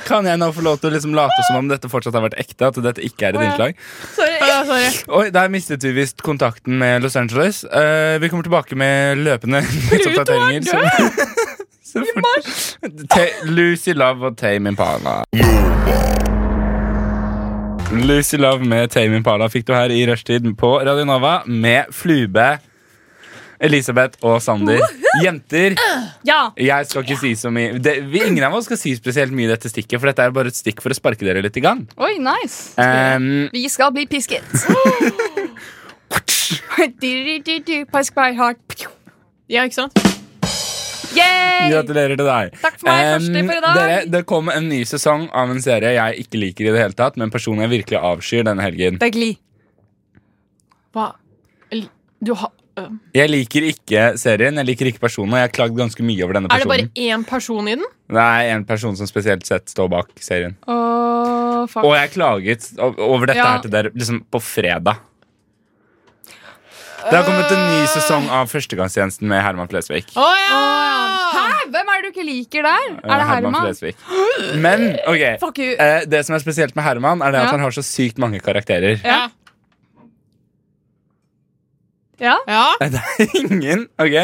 Kan jeg nå få lov til å liksom late som om dette fortsatt har vært ekte? At dette ikke er et innslag?
Sorry.
Oi, der mistet vi visst kontakten med Los Angeles. Eh, vi kommer tilbake med løpende nyhetsoppdateringer. som- så fort- Ta- Lucy Love og Tame Impala. Lucy Love med Tame Impala fikk du her i rushtid på Radio Nova med Flube, Elisabeth og Sander. Jenter,
Ja.
jeg skal ikke si så mye det, vi, Ingen av oss skal si spesielt mye i dette stikket, for dette er bare et stikk for å sparke dere litt i gang.
Oi, nice.
Um,
Vi skal bli pisket. Du-du-du-du, Pisk by heart.
Ja, ikke sant?
Yay!
Gratulerer til deg.
Takk for meg, første for i dag.
Dere, det kom en ny sesong av en serie jeg ikke liker i det hele tatt, men personen jeg virkelig avskyr denne helgen.
Det er Gli.
Hva? Eller, Du har øh.
Jeg liker ikke serien, jeg liker ikke personen, og jeg har klagd ganske mye over denne
Er det
personen.
bare én person i den?
Det er en person som spesielt sett står bak serien.
Åh, fuck.
Og jeg klaget o- over dette
Ja.
her til dere liksom på fredag. Det har kommet en
Øh.
ny sesong av Førstegangstjenesten med Herman Flesvig.
Å ja!
Hæ? Hvem er det du ikke liker der?
Eh,
Er det Herman?
Flesvig. Men ok,
Fuck you.
eh, det som er spesielt med Herman, er det at
Ja.
han har så sykt mange karakterer.
Ja.
Ja?
ja.
Nei, det er ingen. Ok.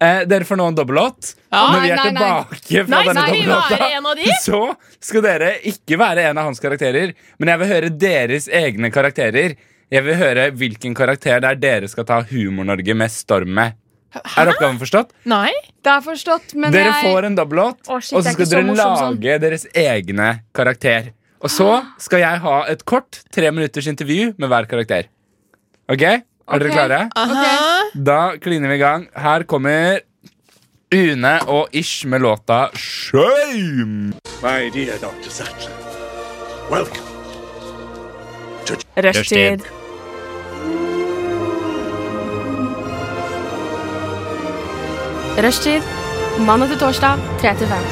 Eh, dere får nå en dobbellåt.
Ja.
Når vi er
Nei, nei, nei.
tilbake fra
Nei,
denne
skal vi være
dobbellåta,
en av de?
så skal dere ikke være en av hans karakterer, men jeg vil høre deres egne karakterer. Jeg vil høre hvilken karakter det er dere skal ta Humor-Norge med storm med. Er oppgaven forstått?
Nei?
Det er forstått, men
Dere
jeg
får en dobbellåt,
Å,
og
shit,
så
jeg er
skal
ikke så
dere
morsom sånn.
lage deres egne karakter. Og så skal jeg ha et kort tre minutters intervju med hver karakter. Ok? Er
Ok.
dere klare?
Aha.
Da kliner vi i gang. Her kommer Une og Ish med låta Shame.
My dear Dr. Satcher, welcome.
Rushtid.
Rushtid. Mandag til torsdag, 3 til 5.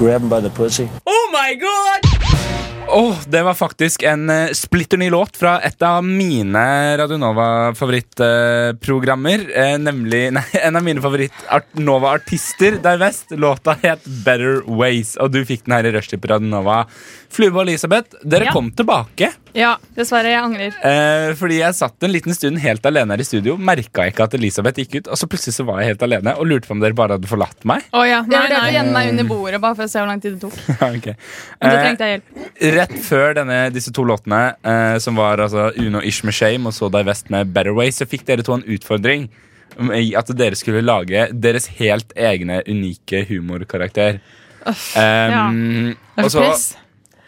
Grab him by the pussy.
Oh my god!
Åh, det var faktisk en eh, splitter ny låt fra et av mine Radionova-favorittprogrammer. nemlig Nei, en av mine favoritt-Nova-artister der vest. Låta het Better Ways, og du fikk den her i rushtid på Radionova. Flube og Elisabeth, dere
Ja.
kom tilbake.
Ja.
Dessverre, jeg angrer.
Eh, fordi jeg satt en liten stund helt alene her i studio, merka ikke at Elisabeth gikk ut, og så plutselig så var jeg helt alene og lurte på om dere bare hadde forlatt meg.
Å ja.
Jeg
Nei,
vurderte å
nei.
gjemme meg under bordet bare for å se hvor lang tid det tok.
Ok.
Men da
Eh,
trengte jeg hjelp.
Rett før denne, disse to låtene, eh, som var altså Uno Ish med Shame og så deg vest med Better Way, så fikk dere to en utfordring om- i at dere skulle lage deres helt egne unike humorkarakter. Um, Og så
press.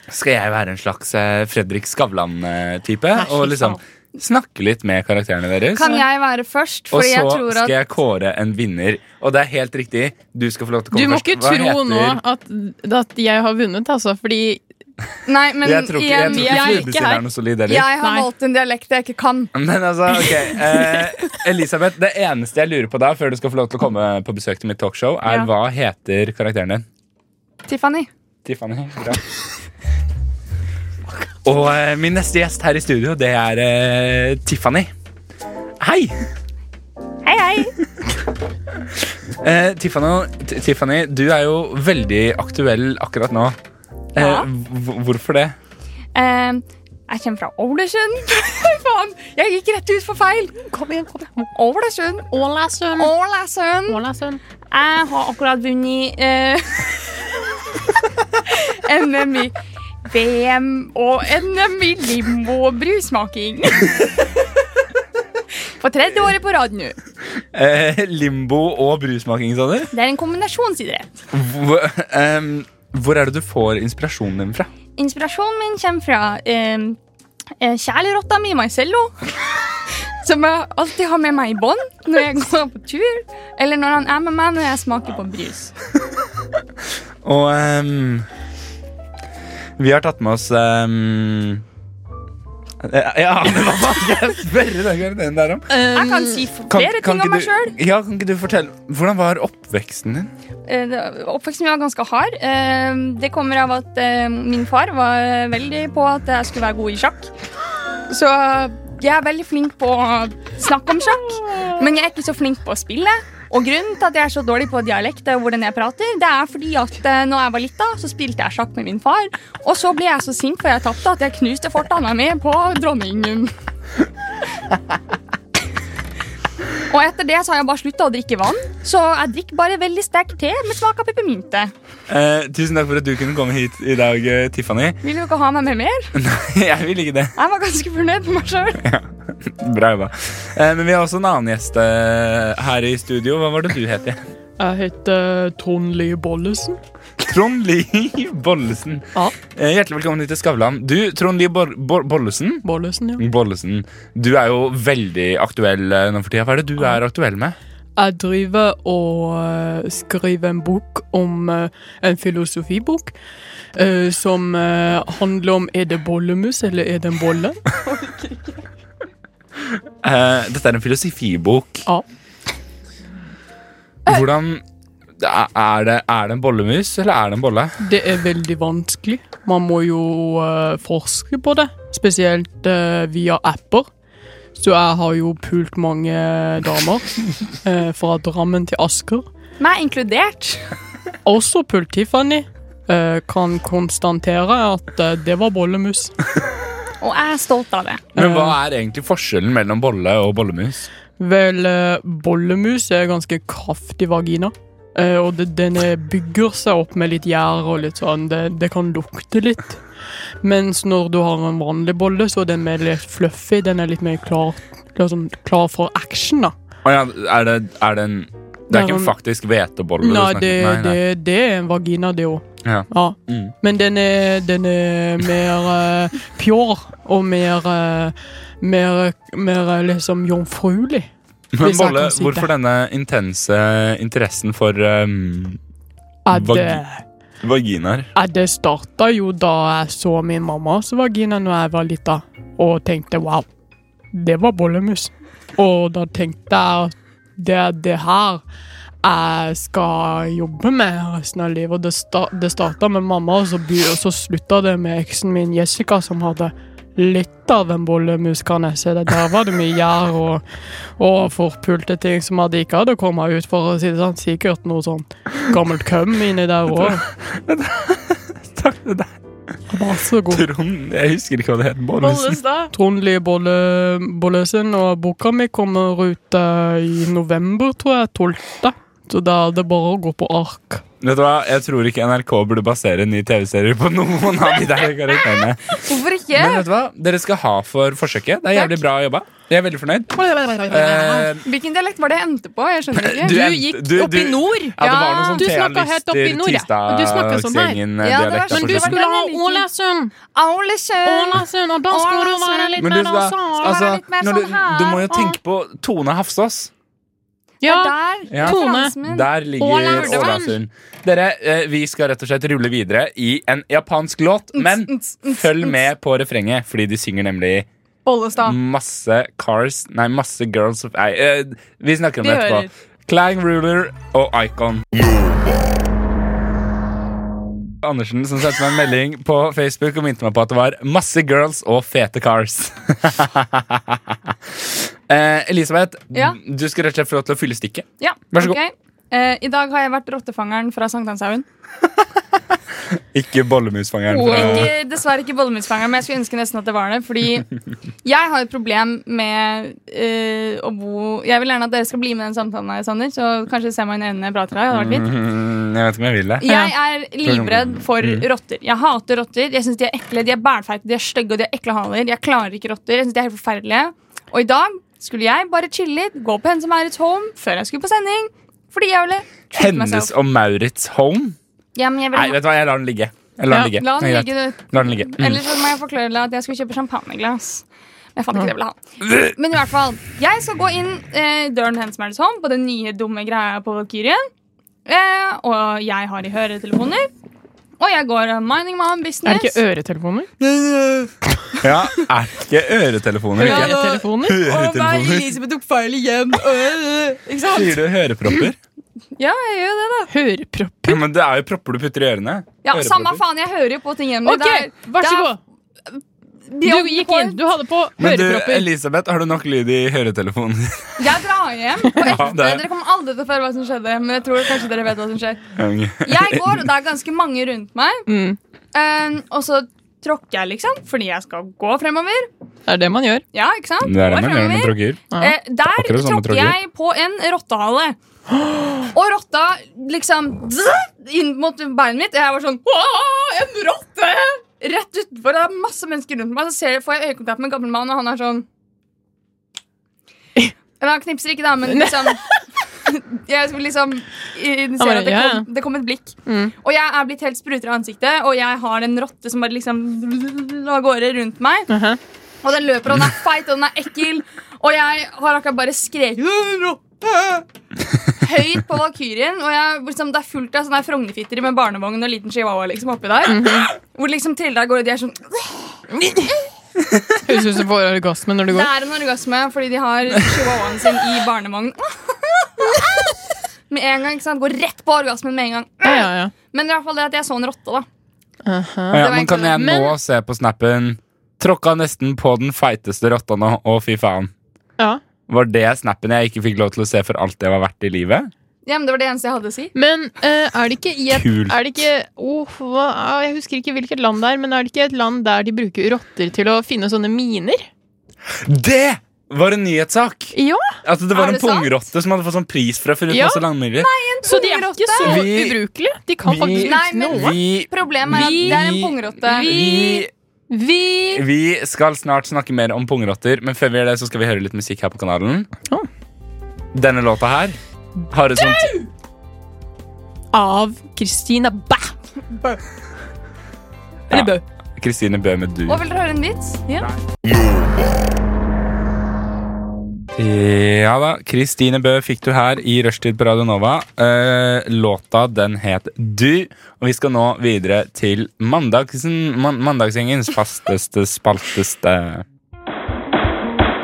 skal jeg være en slags eh, Fredrik Skavlan-type og liksom snakke litt med karakterene deres.
Kan jeg være først?
og
Fordi jeg
så
tror
skal
at
jeg kåre en vinner. Og det er helt riktig. Du skal få lov til å
Du
komme
må
først.
ikke
Hva
tro
heter-
nå at, at jeg har vunnet, altså, fordi
Nei, men
Jeg tror ikke, jeg tror
igjen,
jeg er
ikke
ikke
Flubestille
her.
er noe solid heller.
jeg har
Nei.
valgt en dialekt jeg ikke kan.
Men altså, ok eh, Elisabeth, det eneste jeg lurer på da Før du skal få lov til å komme på besøk til mitt talkshow Er
Ja.
hva heter karakteren din?
Tiffany.
Tiffany bra. Og eh, min neste gjest her i studio Det er eh, Tiffany Hei
Hei, hei!
eh, Tiffany, T- Tiffany, du er jo veldig aktuell akkurat nå eh,
Ja.
hv- Hvorfor det?
Eh, jeg kommer fra Ålesund. Faen, jeg gikk rett ut for feil. Kom igjen, kom igjen. Ålesund.
Ålesund.
Ålesund.
Ålesund.
Jeg har akkurat vunnet eh, NM i VM og NM i limo og brussmaking. For tredje året på rad nå.
Eh, limbo og brusmaking, sa du?
Det er en kombinasjonsidrett.
Hvor, ehm, hvor er det du får inspirasjonen din fra?
Inspirasjonen min kommer fra eh, eh, kjælerotta mi, Marcello. Som jeg alltid har med meg i bånd når jeg går på tur, eller når han er med meg når jeg smaker på brus.
Og ehm, vi har tatt med oss ehm, ja, ja, men hva faen skal jeg spørre den karakteren der om?
Jeg kan si f-
Mm, Kan-
flere
kan
ting
ikke
om meg
du-
sjøl.
Ja, kan ikke du fortelle, hvordan var oppveksten din?
Eh, Oppveksten min var ganske hard. Eh, Det kommer av at eh, min far var veldig på at jeg skulle være god i sjakk. Så jeg er veldig flink på å snakke om sjakk, men jeg er ikke så flink på å spille. Og grunnen til at jeg er så dårlig på dialekt, og hvordan jeg prater, det er fordi at eh, når jeg var lita, så spilte jeg sjakk med min far, og så ble jeg så sint for jeg tapte at jeg knuste fortanna mi på dronningen. Og etter det så har jeg bare slutta å drikke vann, så jeg drikker bare veldig sterk te med smak av peppermynte.
Eh, tusen takk for at du kunne komme hit i dag, eh, Tiffany.
Vil du ikke ha meg med mer?
Jeg vil ikke det.
Jeg var ganske fornøyd med meg sjøl.
Bra jobba. Eh, men vi har også en annen gjest eh, her i studio. Hva var det du het igjen?
Jeg heter Trond Lie Bollesen.
Trond Lie Bollesen.
Ja.
Eh, hjertelig velkommen hit til Skavlan. Du, Trond Lie Bor Bor Bollesen.
Bollesen, ja.
Bollesen, du er jo veldig aktuell eh, nå for tida. Hva er det du er aktuell med?
Jeg driver og eh, skriver en bok om eh, En filosofibok eh, som eh, handler om er det bollemus eller er det en bolle?
Eh, dette er en filosofibok.
Ja.
Eh. Hvordan er det, er det en bollemus, eller er det en bolle?
Det er veldig vanskelig. Man må jo eh, forske på det, spesielt eh, via apper. Så jeg har jo pult mange damer eh, fra Drammen til Asker.
Meg inkludert.
Også pult Tiffany. eh, kan konstatere at eh, det var bollemus.
Og jeg er stolt av det.
Men hva er egentlig forskjellen mellom bolle og bollemus?
Vel, eh, bollemus er ganske kraftig vagina. eh, Og det, den eh, bygger seg opp med litt gjær og litt sånn. Det, det kan lukte litt. Mens når du har en vanlig bolle, så er den mer litt fluffy. Den er litt mer klar, liksom, klar for action, da.
Å ja, er det, er det en Det er ikke en faktisk hvetebolle? du
Nei,
snakker-
det,
nei, nei.
Det, det er en vagina, det òg.
Ja. Mm.
Men den er, den er mer uh, pjår og mer, eh, mer, mer eh, liksom jomfruelig.
Men
hvis jeg
bolle,
kan si det.
hvorfor denne intense interessen for um,
Er
Vagi-
det-
vaginaer?
Ja, det starta jo da jeg så min mammas vagina når jeg var lita, og tenkte wow, det var bollemus. Og da tenkte jeg at det, det her
jeg skal jobbe med resten av livet. Og Det, sta det starta med mamma, og så, by- og så slutta det med eksen min Jessica, som hadde litt av en bollemus, kan jeg si. det. Der var det mye gjær og, og forpulte ting som hadde ikke hadde kommet ut, for å si det sånn. Sikkert noe sånn gammelt køm inni der òg.
Takk til deg.
Vær så god.
Trond Jeg husker ikke hva det het. Bollesen.
Bollestad.
Trond Lie Bolle, Bollesen, og boka mi kommer ut eh, i november, tror jeg. 12. Så da er det bare å gå på ark.
Vet du hva, Jeg tror ikke NRK burde basere en ny TV-serie på noen av de der karakterene.
Hvorfor ikke?
Men vet du hva, dere skal ha for forsøket. Det er jævlig bra jobba. Jeg er veldig fornøyd. Eh,
Hvilken dialekt var det jeg endte på? Jeg skjønner ikke.
Du
Du
er-
gikk
du-
opp i
du-
nord.
ja, det var sånn noe
Du snakka helt opp i nord. Ja. Du snakka sånn her.
eh,
Ja, det var
Tjernlyst-Tisdag-Stengin-dialekt.
sånn.
Men du
Det var
skulle
den
ha
jeg liker.
Ålesund.
Ålesund!
Ålesund, og da skal du være litt
Men du,
mer
skal,
sånn.
altså,
være litt mer
når du,
sånn her.
du må jo tenke på Tone Hafsås.
Ja,
Der.
Ja.
Tone.
Der ligger
Ålesund.
Ålesund. Dere, eh, vi skal rett og slett rulle videre i en japansk låt, men følg med på refrenget, fordi de synger nemlig
Bollestad.
Mm. masse Cars Nei, masse Girls of Nei, eh, vi snakker om det
Vi hører.
etterpå. Clang Ruler og Icon. Andersen som sendte meg en melding på Facebook og minte meg på at det var masse girls og fete cars. eh, Elisabeth,
Ja.
du skal rett og slett få lov til å fylle stikket.
Ja,
Vær så god.
ok. Eh, I dag har jeg vært rottefangeren fra Sankthanshaugen.
Ikke bollemusfangeren.
Ikke, dessverre ikke bollemusfangeren, men jeg skulle ønske nesten at det var det. Fordi jeg har et problem med eh, å bo Jeg vil gjerne at dere skal bli med i den samtalen, her, Sander, så kanskje se meg i øynene når jeg prater. her, Det hadde vært fint.
Mm, jeg vet ikke om jeg vil det.
Jeg er livredd for
Mm.
rotter. Jeg hater rotter. Jeg synes De er ekle, de er bælfeite, de er stygge og de har ekle haler. Jeg klarer ikke rotter. Jeg synes de er helt forferdelige. Og i dag skulle jeg bare chille litt, gå på Hennes og Maurits Home før jeg skulle på sending. Fordi jeg ville treat
Hennes
myself.
og Maurits Home?
Ja, men jeg
Nei,
ville
vet du hva, jeg lar den ligge. Jeg lar den ligge.
La den
Det er greit.
ligge, du.
La den ligge. Mm.
Ellers så må jeg forklare deg at jeg skulle kjøpe champagneglass. Men Jeg fant ikke det jeg ville ha. Men i hvert fall, jeg skal gå inn eh, døren hennes Magnus Holm på den nye dumme greia på Valkyrien. Eh, og jeg har i høretelefoner. Og jeg går eh, mining my own
Er
business.
det ikke øretelefoner?
Ja, er det ikke øretelefoner?
Ja,
Ikke?
da-
Øretelefoner?
Elisabeth tok feil igjen. Ikke sant?
Sier du hørepropper?
Ja, jeg gjør det, da.
Hørepropper?
Ja, men det er jo propper du putter i ørene.
Ja,
Hørepropper.
Samme faen, jeg hører jo på ting hjemme.
OK, vær så god. Du gikk inn. Du hadde på
Men du,
hørepropper.
Elisabeth, har du nok lyd i høretelefonen?
Jeg drar hjem. På ekte.
det er-
Dere kommer aldri til å føle hva som skjedde, men jeg tror kanskje dere vet hva som skjer. Jeg går, og det er ganske mange rundt meg.
Mm.
Um, og så tråkker jeg, liksom, fordi jeg skal gå fremover.
Det er det man gjør.
Ja, ikke sant?
Det er det man
Går
gjør når man
fremover.
tråkker.
Ja.
Eh, der
Akkurat det samme
tråkker
tråkker.
jeg på en rottehale. Og rotta liksom zzz, inn mot beinet mitt. Jeg var sånn «Åh, En rotte! Rett utenfor. Det er masse mennesker rundt meg. Så ser jeg, får jeg øyekontakt med en gammel mann, og han er sånn Eller han knipser ikke, da, men liksom Jeg skulle liksom i-
bare,
ser at det
«Ja, Mm. ja».
kom, det kom et blikk. Og jeg er blitt helt spruter i ansiktet, og jeg har en rotte som bare liksom av gårde rundt meg.
Uh-huh.
Mhm.
Og den løper, og den er feit, og den er ekkel. Og jeg har akkurat bare skreket «Øh, rotte! høyt på Valkyrien. Og jeg, liksom, det er fullt av sånne her Frognerfittere med barnevogn og liten chihuahua liksom, oppi der. Hvor liksom Tilde av gårde, de er sånn
Høres ut som du får orgasme når du
Det
går.
er en orgasme fordi de har chihuahuaen sin i barnevogn. Med en gang, ikke sant? Går rett på orgasmen med en gang.
Ja, ja, ja.
Men i hvert fall det at jeg så en rotte, da.
Aha.
Ja,
var
men kan
egentlig
jeg
det.
nå se på snappen Tråkka nesten på den feiteste rotta nå, å fy faen.
ja.
Var det snappen jeg ikke fikk lov til å se for alt det var verdt i livet?
Ja, men Det var det eneste jeg hadde å si.
Men eh, er det ikke i et
Kult.
er det ikke, åh, hva, ah, Jeg husker ikke hvilket land det er, men er det ikke et land der de bruker rotter til å finne sånne miner?
Det var en nyhetssak!
Ja,
At det var en
Er det sant?
pungrotte som hadde fått sånn pris for å finne ut
Ja.
masse landmyrder.
Så de er ikke så
Vi-
ubrukelige. De kan
vi-
faktisk
Nei,
ikke
men-
noe.
Vi,
Problemet er at
Vi-
det er en pungrotte.
vi,
Vi
vi skal snart snakke mer om pungrotter, men før vi gjør det, så skal vi høre litt musikk her på kanalen.
Å.
Denne låta her har et sånt
Av Christina Bæ. Eller Bø.
Kristine Bø med du.
Og vil dere høre en vits?
Ja da, Kristine Bø fikk du her i Rushtid på Radio Nova. Eh, låta den het Du, og vi skal nå videre til mandagsen, man, mandagsgjengens fasteste, spalteste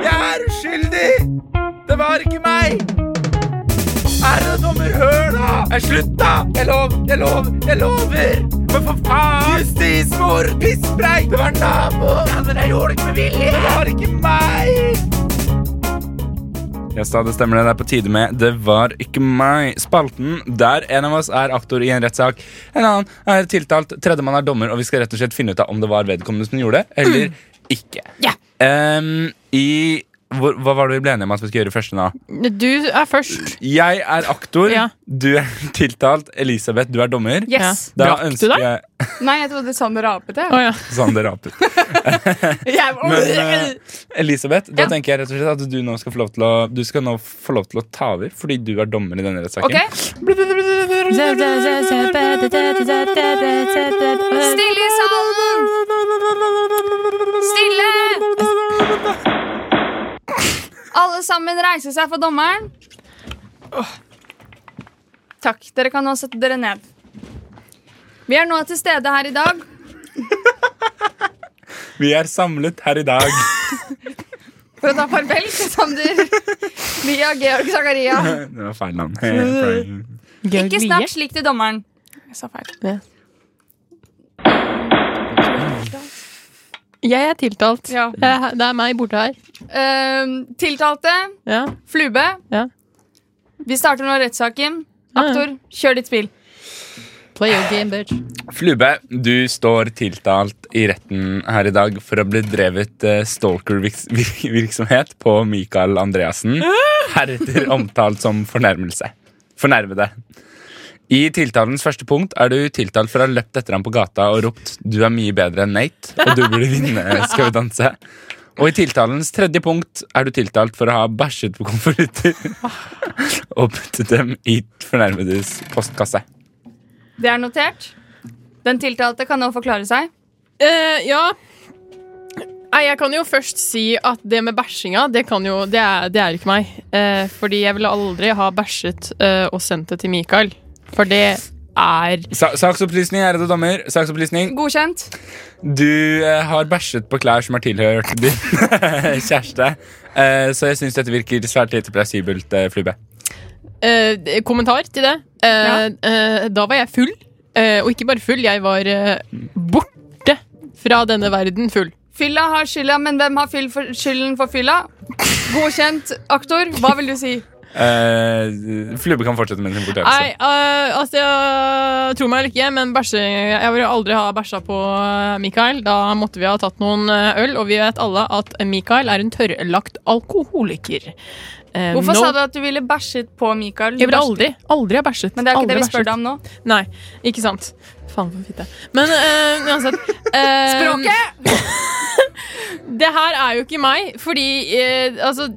Jeg er uskyldig! Det var ikke meg!
herredommer, hør da! Eh, Slutt, da! Jeg lov, jeg lov, jeg lover! Men for faen! Justismord! Pisspreik! Det var naboen! Han der gjorde det ikke med vilje! Det var ikke meg!
Yes, da, det stemmer det. Det er på tide med Det var ikke meg. Spalten der en av oss er aktor i en rettssak, en annen er tiltalt, tredjemann er dommer, og vi skal rett og slett finne ut av om det var vedkommende som gjorde det, eller ikke.
Ja.
Em, I hvor, Hva var det vi ble enige om at vi skulle gjøre først nå?
Du er
Mm,
først.
Jeg er aktor,
Ja.
du er tiltalt, Elisabeth, du er dommer.
Yes.
Da
Brakk du
ønsker
deg?
jeg
Nei, jeg trodde Sander
Å
rapet det.
ja.
Sander raper. Men eh, Elisabeth, da tenker jeg rett og slett at du nå skal få lov til å, du skal nå få lov til å ta over, fordi du er dommer i denne rettssaken.
Ok? Stille i salen! Stille! Alle sammen reiser seg for dommeren. Takk. Dere kan nå sette dere ned. Vi er nå til stede her i dag.
Vi er samlet her i dag.
For å ta farvel til Sander, Lia, Georg, Zakaria.
Det var feil navn.
Ikke snakk slik til dommeren. Jeg sa feil.
Jeg er tiltalt.
Ja.
Det er- det er meg borte her.
Ehm, tiltalte,
Ja.
Flube.
Ja.
Vi starter nå rettssaken.
Ja, ja.
Aktor, kjør ditt spill.
Play your game, bitch.
Flube, du står tiltalt i retten her i dag for å ha blitt drevet eh, stalkervirksomhet på Mikael Andreassen, heretter omtalt som fornærmelse. Fornærmede. I tiltalens første punkt er du tiltalt for å ha løpt etter ham på gata og ropt 'du er mye bedre enn Nate', og 'du burde vinne Skal vi danse'. Og i tiltalens tredje punkt er du tiltalt for å ha bæsjet på konvolutter og puttet dem i fornærmedes postkasse.
Det er notert. Den tiltalte kan nå forklare seg.
Eh, ja. Nei, jeg kan jo først si at det med bæsjinga, det, kan jo, det, er, det er ikke meg. Eh, fordi jeg ville aldri ha bæsjet eh, og sendt det til Mikael. For det er
Sa saksopplysning, ærede dommer. Saksopplysning.
Godkjent.
Du eh, har bæsjet på klær som er tilhørt din kjæreste. Eh, så jeg syns dette virker svært lite plausibelt, eh, Flube.
eh, Kommentar til det. Eh, eh, da var jeg full. Eh, og ikke bare full, jeg var eh, borte fra denne verden full.
Fylla har skylda, men hvem har fyll for skylden for fylla? Godkjent. Aktor, hva vil du si?
Eh, Flube kan fortsette med sin
Nei,
fortellelse.
eh, altså jeg, Tro meg eller ikke, men bæsje, jeg ville aldri ha bæsja på eh, Mikael. Da måtte vi ha tatt noen eh, øl, og vi vet alle at eh, Mikael er en tørrlagt alkoholiker. Eh,
Hvorfor
no-
sa du at du ville bæsjet på Mikael?
Jeg ville aldri, aldri ha bæsjet.
Men det er jo ikke
aldri
det vi spør
bæsjet.
deg om nå.
Nei, ikke sant. Faen for fitte. Men eh, uansett eh,
Språket!
Det her er jo ikke meg, fordi eh, Altså,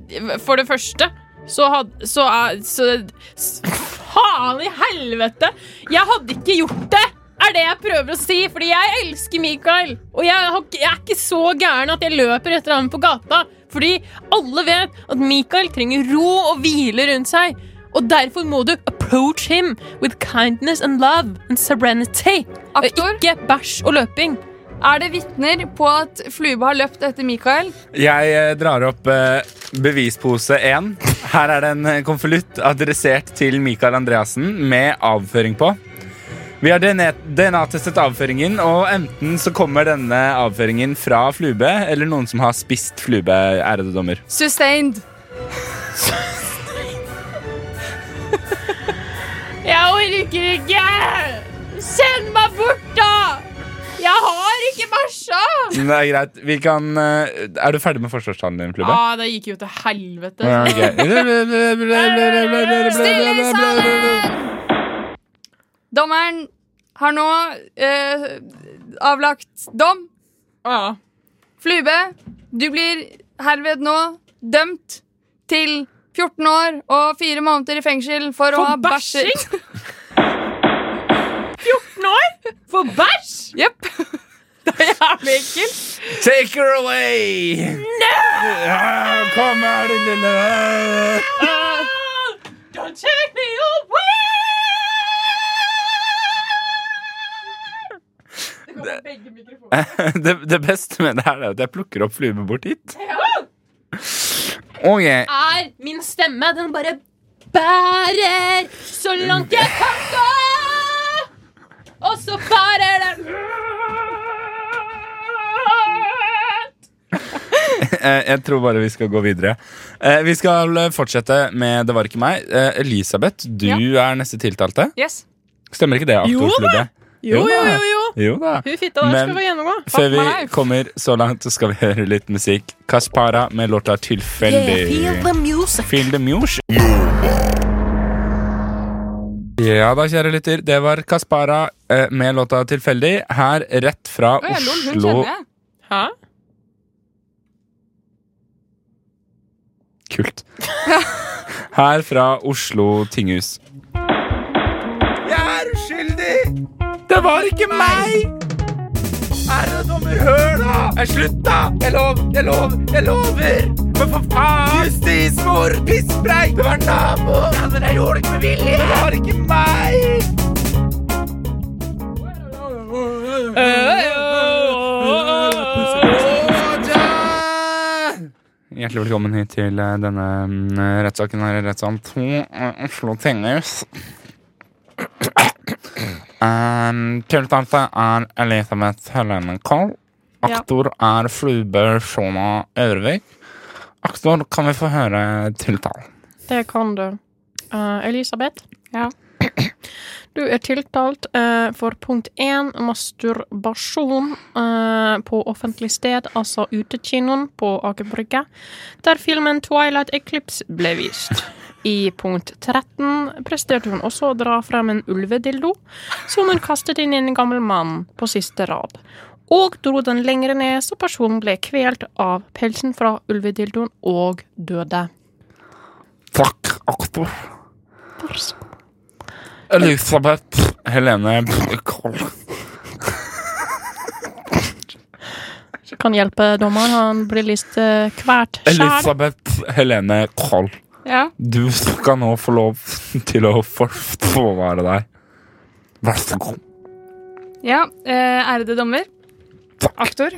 for det første så hadde Så er så, s- Faen i helvete! Jeg hadde ikke gjort det! Er det jeg prøver å si, fordi jeg elsker Mikael. Og jeg, har, ikke- jeg er ikke så gæren at jeg løper etter ham på gata. Fordi alle vet at Mikael trenger ro og hvile rundt seg. Og derfor må du approach him with kindness and love and serenity. Og
Aktor?
Ikke bæsj og løping.
Er det vitner på at Flube har løpt etter Mikael?
Jeg eh, drar opp eh, bevispose én. Her er det en eh, konvolutt adressert til Mikael Andreassen med avføring på. Vi har DNA-testet avføringen, og enten så kommer denne avføringen fra Flube, eller noen som har spist Flube, ærede dommer.
Sustained.
Jeg orker ikke! Send meg bort, da! Jeg har ikke bæsja!
Men Det er greit. Vi kan eh, Er du ferdig med forsvarstalen din, Flubbe?
ah, det gikk jo til helvete.
Ja, ok.
Stille i salen! Dommeren har nå eh, avlagt dom.
Ah.
Flube, du blir herved nå dømt til 14 år og 4 måneder i fengsel for, å ha bæsjet.
bæsjing? 14 år? For bæsj?
Jepp.
Det er jævlig ekkelt.
Take her away! Ja, kom her, din lille
Don't take me away!
det, det beste med det her er at jeg plukker opp Flube bort hit. Ok.
Er min stemme. Den bare
bærer så langt jeg kan gå. Og så bærer den
Eh, Jeg tror bare vi skal gå videre. Eh, Vi skal eh, fortsette med Det var ikke meg. Eh, Elisabeth, du er neste tiltalte.
Yes.
Stemmer ikke det?
Jo da.
aktorklubbe?
Jo, jo,
da.
jo. jo.
Jo da.
Hun fitta der skal
Men
få gjennomgå.
Før
Fuck
vi
my life.
kommer så langt, så skal vi høre litt musikk. Kaspara med låta 'Tilfeldig'. Feel the music. Ja da, kjære lytter. Det var Kaspara eh, med låta 'Tilfeldig' her rett fra
Å, ja, lol, hun
Oslo
kjenner jeg. Hæ?
Kult. Her fra Oslo tinghus. Jeg er uskyldig! Det var ikke meg! Er det dumme høl, da? Eh, Slutt, da! Jeg lover, jeg lover, jeg lover! Men for faen! Justismord! Pisspreik! Det var naboen! Ja, men jeg gjorde det ikke med vilje! Det var ikke meg! Hjertelig velkommen hit til eh, denne mm, rettssaken her i rettssalen 2, eh, Oslo tinghus. Um, Tiltalte er Elisabeth Helene Koll. Aktor er Flube Shona Øvrevik. Aktor, kan vi få høre tiltalen?
Det kan du. Eh, Elisabeth?
Ja.
Du er tiltalt eh, for punkt 1, masturbasjon eh, på offentlig sted, altså utekinoen på Aker Brygge, der filmen Twilight Eclipse ble vist. I punkt 13 presterte hun også å dra frem en ulvedildo, som hun kastet inn i en gammel mann på siste rad. Og dro den lengre ned, så personen ble kvelt av pelsen fra ulvedildoen og døde.
Takk, aktor.
Vær så god.
Elisabeth Helene Koll.
Kan hjelpe dommeren, han blir litt eh, kvært sjæl.
Elisabeth Helene Koll.
Ja.
Du skal nå få lov til å forsvare deg. Vær så god.
Ja, eh, ærede dommer. Aktor.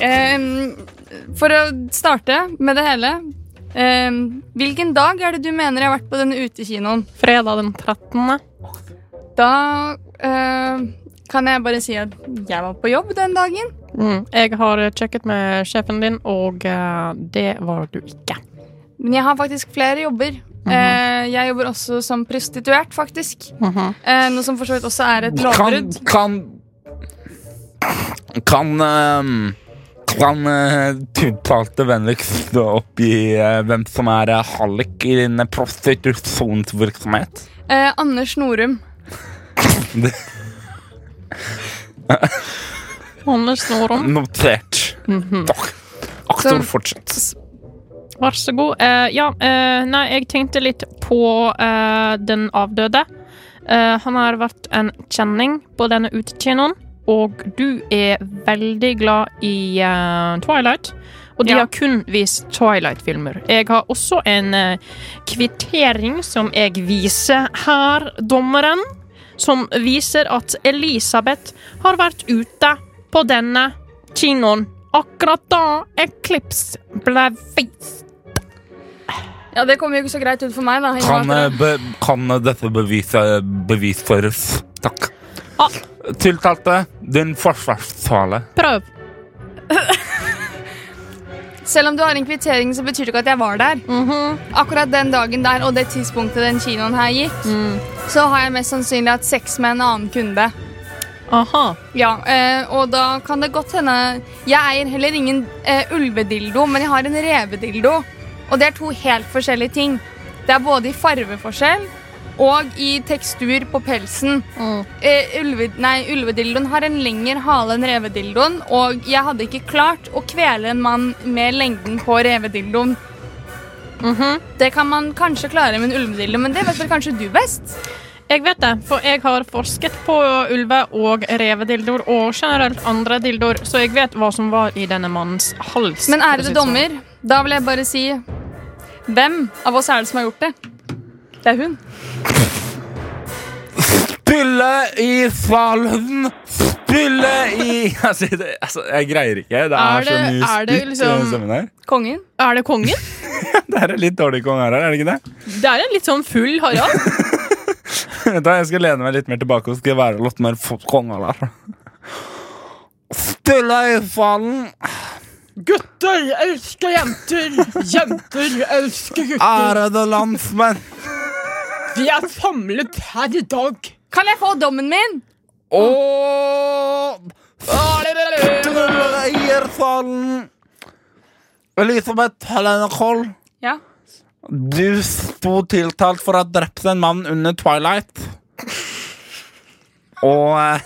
Em, for å starte med det hele. em, hvilken dag er det du mener jeg har vært på denne utekinoen?
Fredag den 13.
Da eh, kan jeg bare si at jeg var på jobb den dagen.
Mm. Jeg har eh, sjekket med sjefen din, og eh, det var du ikke.
Men jeg har faktisk flere jobber.
Mhm.
Eh, jeg jobber også som prostituert, faktisk.
Mhm.
Eh, noe som for så vidt også er et
Kan
lovbrudd.
Kan Kan ehm, Kan eh, tiltalte vennligst oppgi eh, hvem som er eh, hallik i din eh, prostitusjonsvirksomhet?
Eh, Anders Norum.
Anders Norum.
Notert. Takk. Aktor,
Så-
fortsett.
Vær så god. Eh, ja, eh, nei, jeg tenkte litt på eh, den avdøde. Eh, han har vært en kjenning på denne utekinoen, og du er veldig glad i eh, Twilight. Og de
Ja.
har kun vist Twilight-filmer. Jeg har også en eh, kvittering som jeg viser her, dommeren, som viser at Elisabeth har vært ute på denne kinoen akkurat da Eclipse ble vist.
Ja, det kommer jo ikke så greit ut for meg, da. i og med
Kan,
at
eh,
det-
be, kan dette beviset bevisføres? Takk.
Ah.
Tiltalte, din forsvarstale.
Prøv.
Selv om du har en kvittering, så betyr det ikke at jeg var der.
Mhm.
Akkurat den dagen der og det tidspunktet den kinoen her gikk,
Mm.
så har jeg mest sannsynlig hatt sex med en annen kunde.
Aha.
Ja, eh, og da kan det godt hende Jeg eier heller ingen eh, ulvedildo, men jeg har en revedildo. Og det er to helt forskjellige ting. Det er både i farveforskjell og i tekstur på pelsen. Eh, ulve, nei, ulvedildoen har en lengre hale enn revedildoen, og jeg hadde ikke klart å kvele en mann med lengden på revedildoen. Det kan man kanskje klare med en ulvedildo, men det vet vel kanskje du best?
Jeg vet det, for jeg har forsket på ulve- og revedildoer og generelt andre dildoer, så jeg vet hva som var i denne mannens hals.
Men
for å si
ærede
det sånn.
dommer, da vil jeg bare si Hvem av oss er det som har gjort det? Det er hun.
Til Spille i salen! Spille i altså, det, altså, jeg greier ikke. Det er,
Er det-
så mye
er det
spytt i
liksom-
den stemmen her.
Kongen.
Er det kongen?
Det her er litt dårlig kong Harald, er det ikke det?
Det er en litt sånn full Harald.
Vet du hva, jeg skal lene meg litt mer tilbake og skal være litt mer for- kong Harald. Spille i salen!
Gutter elsker jenter. Jenter elsker gutter.
Ærede landsmenn!
Vi er samlet her i dag.
Kan jeg få dommen min?
Og Eiersalen Elisabeth Helene Koll
Ja.
Du sto tiltalt for å ha drept en mann under Twilight Og eh,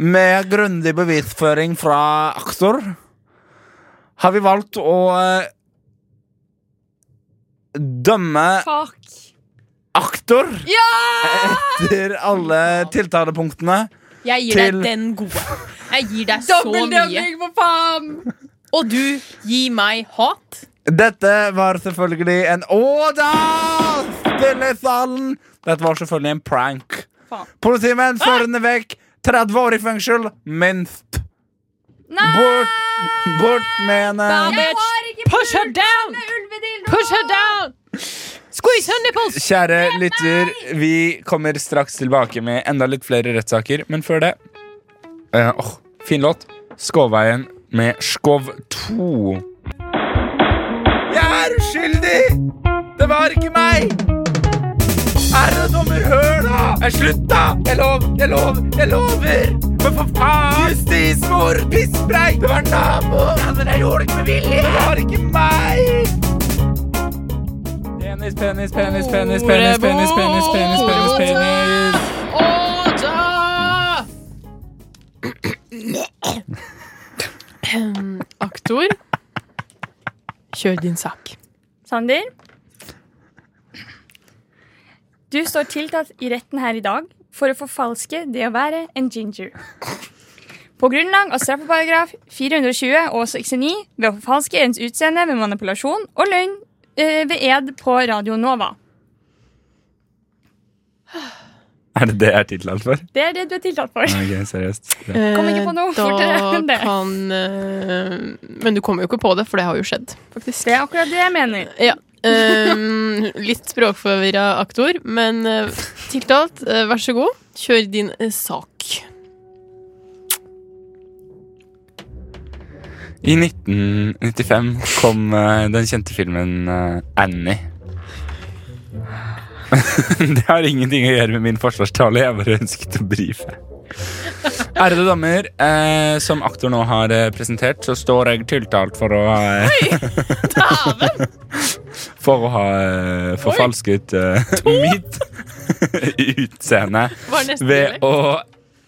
Med grundig bevisføring fra aktor Har vi valgt å eh, Dømme
Fuck.
aktor Etter alle tiltalepunktene
Jeg gir deg
Til-
den gode. Jeg gir deg så mye.
Dobbeldømming, for faen!
Og du gir meg hat.
Dette var selvfølgelig en Åda! Stille i salen! Dette var selvfølgelig en prank.
Faen. Ah!
Politimenn førende vekk. 30 år i fengsel, minst.
Nei!
Bort, bort med henne.
Jeg har ikke
Push her down!
ulvedildo!
Push her down! Squeeze her nipples!
Kjære lytter, vi kommer straks tilbake med enda litt flere rettssaker, men før det eh, åh, Fin låt. Skåveien med Skov 2. Jeg er uskyldig! Det var ikke meg! Herre dommer, hør da! Nei, Slutt, da! Jeg lov, jeg lov, jeg lover! Men for faen! Justismord! Pisspreik! Det var naboen! Ja, men jeg gjorde det ikke med vilje! Det var ikke meg! Penis, penis, penis, penis, penis, penis, penis, penis, penis, penis.
Åda! Aktor, kjør din sak.
Sander. Du står tiltalt i retten her i dag for å forfalske det å være en ginger. På grunnlag av straffeparagraf 420 og 69 ved å forfalske ens utseende ved manipulasjon og løgn eh, ved ed på Radio Nova.
Er det det jeg er tiltalt for?
Det er det du er tiltalt for.
Ok, seriøst.
Kom ikke på noe fortere enn det.
Eh, Kan, eh, men du kommer jo ikke på det, for det har jo skjedd, faktisk.
Det er akkurat det jeg mener.
Ja. eh, litt språkforvirra aktor, men eh, tiltalt, eh, vær så god. Kjør din eh, sak.
I 1995 kom eh, den kjente filmen eh, Annie. det har ingenting å gjøre med min forsvarstale. Jeg bare ønsket å brife. Ærede damer, eh, som aktor nå har eh, presentert, så står jeg tiltalt for å eh, For å ha eh, forfalsket eh, mitt utseende
Var neste
ved å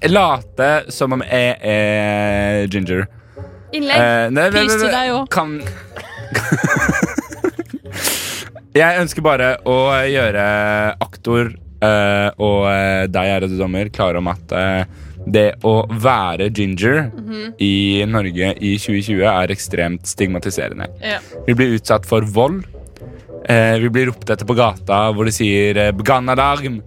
late som om jeg er ginger.
Innlegg.
Eh, nei, nei,
Pris
nei,
til
nei.
deg òg.
Kan Jeg ønsker bare å gjøre aktor eh, og eh, deg, ærede dommer, klare om at eh, det å være ginger
Mhm.
i Norge i 2020 er ekstremt stigmatiserende.
Ja.
Vi blir utsatt for vold. Eh, vi blir ropt etter på gata hvor de sier eh, 'Begannalarm'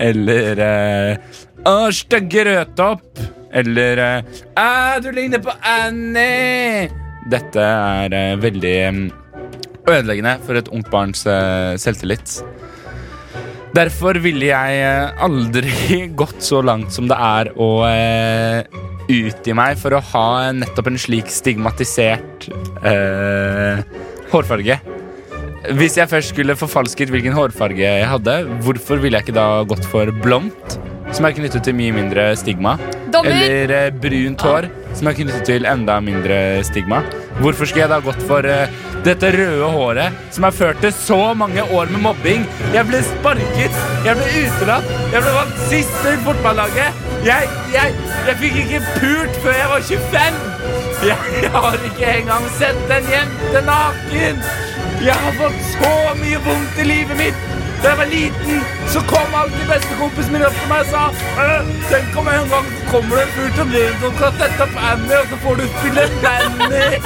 eller eh, 'Å, stygge rødtopp' eller eh, 'Æ, du ligner på Annie'. Dette er eh, veldig mm, ødeleggende for et ungt barns eh, selvtillit. Derfor ville jeg eh, aldri gått så langt som det er å eh, utgi meg for å ha nettopp en slik stigmatisert eh, hårfarge. Hvis jeg først skulle forfalsket hvilken hårfarge jeg hadde, hvorfor ville jeg ikke da gått for blondt, som er knyttet til mye mindre stigma?
Dommer.
Eller eh, brunt hår, som er knyttet til enda mindre stigma. Hvorfor skulle jeg da gått for eh, dette røde håret, som har ført til så mange år med mobbing? Jeg ble sparket, jeg ble utelatt, jeg ble valgt sist i fotballaget. Jeg, jeg, jeg fikk ikke pult før jeg var 25. Jeg, jeg har ikke engang sett en jente naken. Jeg har fått så mye vondt i livet mitt. Da jeg var liten, så kom alltid bestekompisen min opp til meg og sa «Øh, Tenk om en gang kommer det en fyr til deg som kan sette opp Annie, og så får du spille Danny.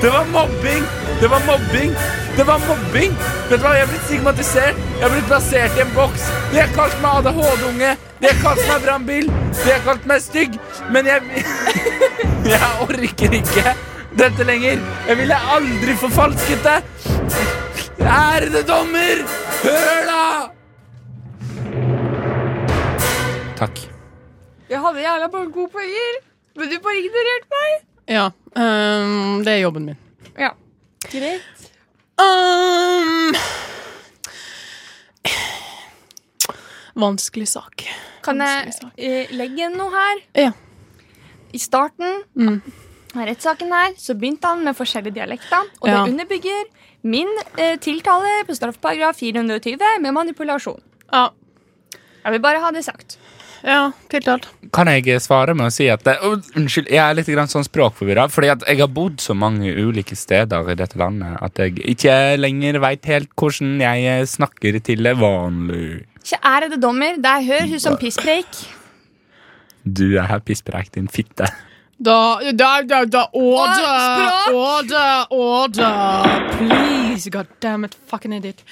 Det var mobbing.
Det var mobbing! Det var mobbing! Vet du hva, Jeg er blitt stigmatisert. Jeg er blitt plassert i en boks. De har kalt meg ADHD-unge. De har kalt meg brannbil. De har kalt meg stygg. Men jeg Jeg orker ikke dette lenger. Jeg ville aldri forfalsket det. Ærede dommer, hør da! Takk.
Jeg hadde jævla mange gode poenger, men du bare ignorerte meg.
Ja.
eh,
ehm, det er jobben min.
Ja.
Um,
Ehm, vanskelig sak.
Kan jeg eh, legge inn noe her?
Ja.
I starten
Mm.
av rettssaken her, så begynte han med forskjellige dialekter, og
Ja.
det underbygger min eh, tiltale på straffeparagraf 420 med manipulasjon.
Ja.
Jeg vil bare ha det sagt.
Ja, tiltalt.
Kan jeg svare med å si at Å, Unnskyld, jeg er litt grann sånn språkforvirra. Fordi at jeg har bodd så mange ulike steder i dette landet at jeg ikke lenger veit helt hvordan jeg snakker til det vanlige.
Ikke ærede dommer, der hører hun som pisspreik.
Du er her pisspreik, din fitte.
Da, da, da, da Order!
Språk!
Order! Order! Please, god damn it, fucking idiot.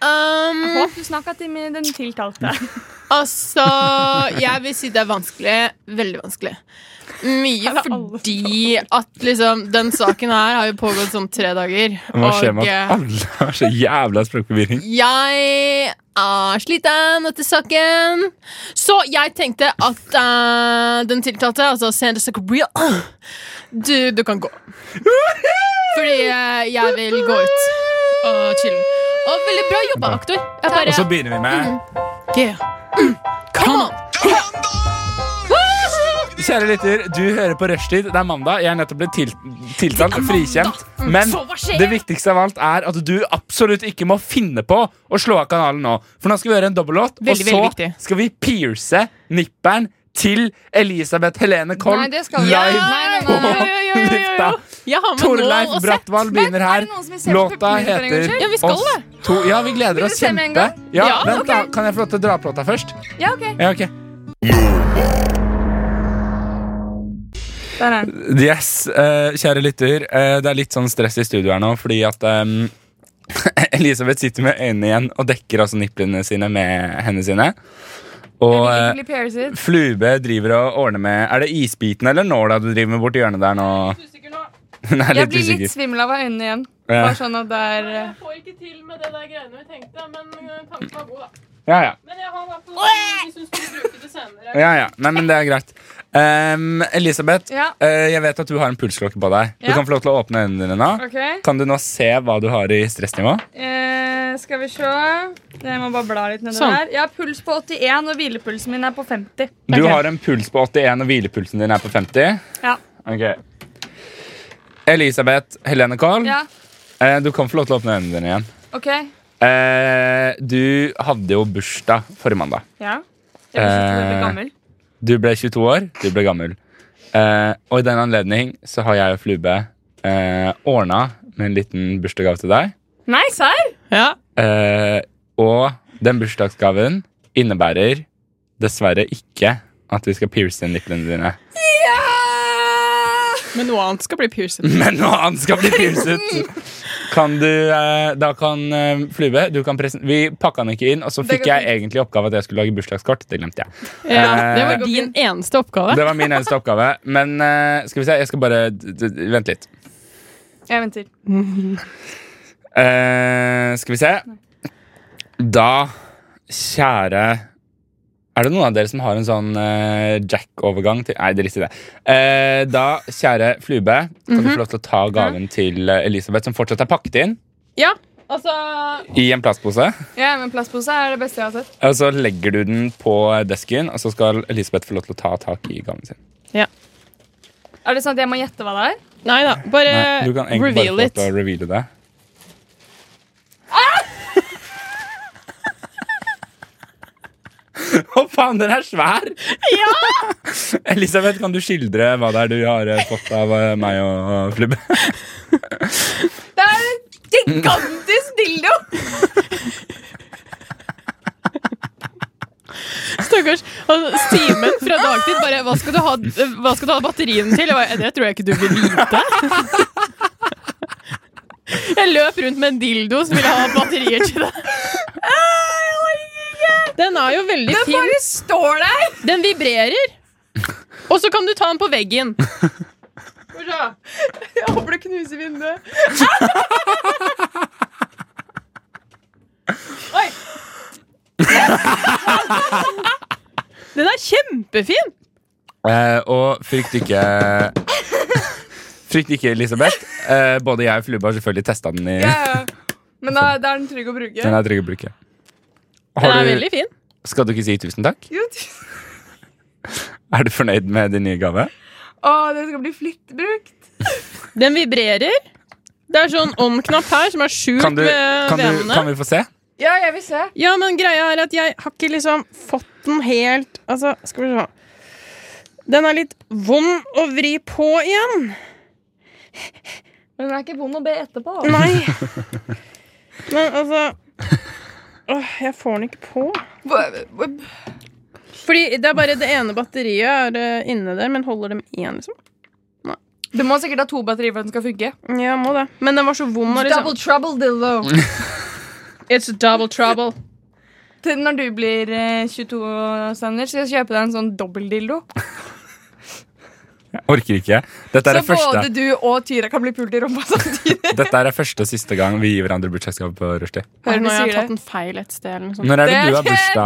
Um,
Håper du snakka til min- den tiltalte.
Altså, jeg vil si det er vanskelig. Veldig vanskelig. Mye fordi at liksom Den saken her har jo pågått sånn tre dager.
Det må skje med at
eh,
alle har så jævla språkforvirring.
jeg er sliten etter saken. Så jeg tenkte at eh, den tiltalte, altså Sandra Zuckerbria du, du kan gå. Fordi eh, jeg vil gå ut og chille. Og veldig bra jobba, aktor. Jeg
Og så
bare,
begynner vi med
yeah. Mm, altså, Come on!
Kjære lytter, du hører på Rushtid. Det er mandag. Jeg er nettopp blitt til tiltalt og frikjent.
Mm,
Men
Så hva skjer?
det viktigste av alt er at du absolutt ikke må finne på å slå av kanalen nå. For nå skal vi gjøre en dobbellåt, og
Veldig,
så
veldig viktig.
skal vi pierce nipperen til Elisabeth Helene Kolm
Nei, det skal vi
live
ikke. Nei, nei, nei,
på lufta.
jeg har med
Torleif
nål og sett.
Brattvoll begynner
Men er
her.
det noen som vil se på
Låta
pupillene for en gangs
heter
skyld?
Ja, vi skal
Oss to. Ja, vi gleder oss
se med en
kjempe. Ja,
Ja,
vent da, Kan jeg få lov til å dra opp låta først?
Ja, ok.
Ja, ok
Der er den.
Yes, eh, kjære lytter. eh, det er litt sånn stress i studio her nå, fordi at ehm, Elisabeth sitter med øynene igjen og dekker altså nipplene sine med hendene sine. Og
Jeg
eh,
vil ikke bli pierced.
Flube driver og ordner med Er det isbiten eller nåla du driver med borti hjørnet der nå? Hun er
Jeg
litt
blir litt
usikker.
svimmel av øynene igjen.
Ja.
Bare sånn at det er eh,
får ikke til med det der greiene vi tenkte, men eh, tanken var god, da.
Ja, ja.
Men jeg har i hvert fall hvis hun skulle bruke det senere.
ja, ja. Nei, men det er greit. Ehm, Elisabeth,
Ja.
eh, jeg vet at du har en pulsklokke på deg. Du
Ja.
kan få lov til å åpne øynene dine nå.
OK.
Kan du nå se hva du har i stressnivå?
Eh, skal vi se Jeg må bare bla litt nedover
Sånn.
her. Jeg har puls på 81, og hvilepulsen min er på 50.
Du
Ok.
har en puls på 81, og hvilepulsen din er på 50.
Ja.
Ok Elisabeth Helene Kohl,
Ja,
eh, du kan få lov til å åpne øynene dine igjen.
OK.
Eh, du hadde jo bursdag forrige mandag.
Ja. Jeg blir ikke veldig
Eh,
gammel.
Du ble 22 år, du ble gammel. Eh, og i den anledning så har jeg og Flube eh, ordna med en liten bursdagsgave til deg.
Nei, serr?
Ja.
Eh, og den bursdagsgaven innebærer dessverre ikke at vi skal pierce nipplene dine.
Men noe annet skal bli pierced.
Men når han skal bli piercet Kan du eh, Da kan eh, Flube du kan presen- Vi pakka han ikke inn, og så
Det
fikk
går
jeg egentlig oppgave at jeg skulle lage bursdagskort. Det glemte jeg.
Ja, det
Eh,
var din eneste oppgave.
Det var min eneste oppgave. Men eh, skal vi se, jeg skal bare d- d- d- Vent litt.
Jeg venter.
Eh, skal vi se. Da, kjære Er det noen av dere som har en sånn eh, Jack-overgang til Nei, drit i det. Eh, da, kjære Flube, kan
Mhm.
du få lov til å ta gaven til eh, Elisabeth, som fortsatt er pakket inn
Ja, altså
i en plastpose.
Ja, men plastpose er det beste jeg har sett.
Og så legger du den på desken, og så skal Elisabeth få lov til å ta tak i gaven sin.
Er det sånn at jeg må gjette hva det er?
Nei da, bare
Nei,
Eh,
du kan
reveal
egentlig bare få lov
it.
til å reveale det. Å faen, den er svær! Elisabeth, kan du skildre hva det er du har eh, fått av eh, meg og og Flubbe?
Det er en gigantisk dildo!
Stakkars. Altså, Simen fra dagtid bare Hva skal du ha, hva skal du ha batteriene til? Jeg bare, det tror jeg ikke du vil vite.
Jeg løp rundt med en dildo som ville ha batterier til det. Ah, Den er jo veldig fin. Den bare står der! Den vibrerer. Og så kan du ta den på veggen.
Jeg håper det knuser vinduet.
Den er kjempefin!
Eh, og frykt ikke Frykt ikke, Elisabeth. Eh, både jeg og Flube har selvfølgelig testa den. i
Ja, ja. Men da, da er den trygg å bruke.
Den er trygg å bruke.
Den
Har
er
du,
veldig fin.
skal du ikke si tusen takk?
Jo, tusen-
Er du fornøyd med din nye gave?
Å, den skal bli flitbrukt.
Den vibrerer. Det er sånn on-knapp her som er skjult
Kan, du,
ved
kan, du,
venene.
kan vi få se?
Ja, jeg vil se.
Ja, men greia er at jeg har ikke liksom fått den helt Altså, skal vi se Den er litt vond å vri på igjen.
Men den er ikke vond å be etterpå.
Nei. Men altså Åh, jeg får den ikke på. Fordi det er bare det ene batteriet er eh, inne der, men holder det med én, liksom?
Du må sikkert ha to batterier for at den skal funke.
Ja, må det. Men den var så vond å liksom
Double trouble dildo.
It's double trouble.
Til når du blir eh, 22, Sander, skal jeg kjøpe deg en sånn dobbeltdildo.
Jeg orker ikke. Dette er,
Så
det første,
både du og Tyra kan bli pult i rumpa samtidig.
dette er det første og siste gang vi gir hverandre bursdagsgave på rushtid.
Hør
Hør
nå,
når
jeg har
jeg
tatt
det.
en feil et sted. eller noe sånt.
Når er det du har
det var det
bursdag?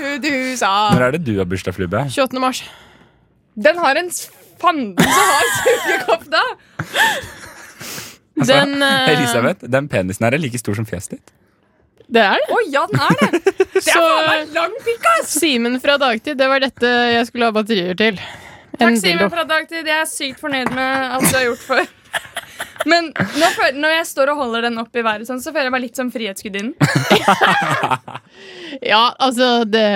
hun du sa.
Når er det du har bursdag, Flube?
28. mars.
Den har en s- fanden som har sugekopp, da.
Den eh,
Elisabeth, den penisen her er like stor som fjeset ditt.
Det er det.
Å ja, den er det.
Så
Lang pikk, ass.
Simen fra dagtid, det var dette jeg skulle ha batterier til. En
Takk, Simen,
dildo.
for at dag til. Jeg er sykt fornøyd med alt du har gjort for. Men nå føler, når jeg står og holder den opp i været, sånn, så føler jeg meg litt som Frihetsgudinnen.
Ja, altså det,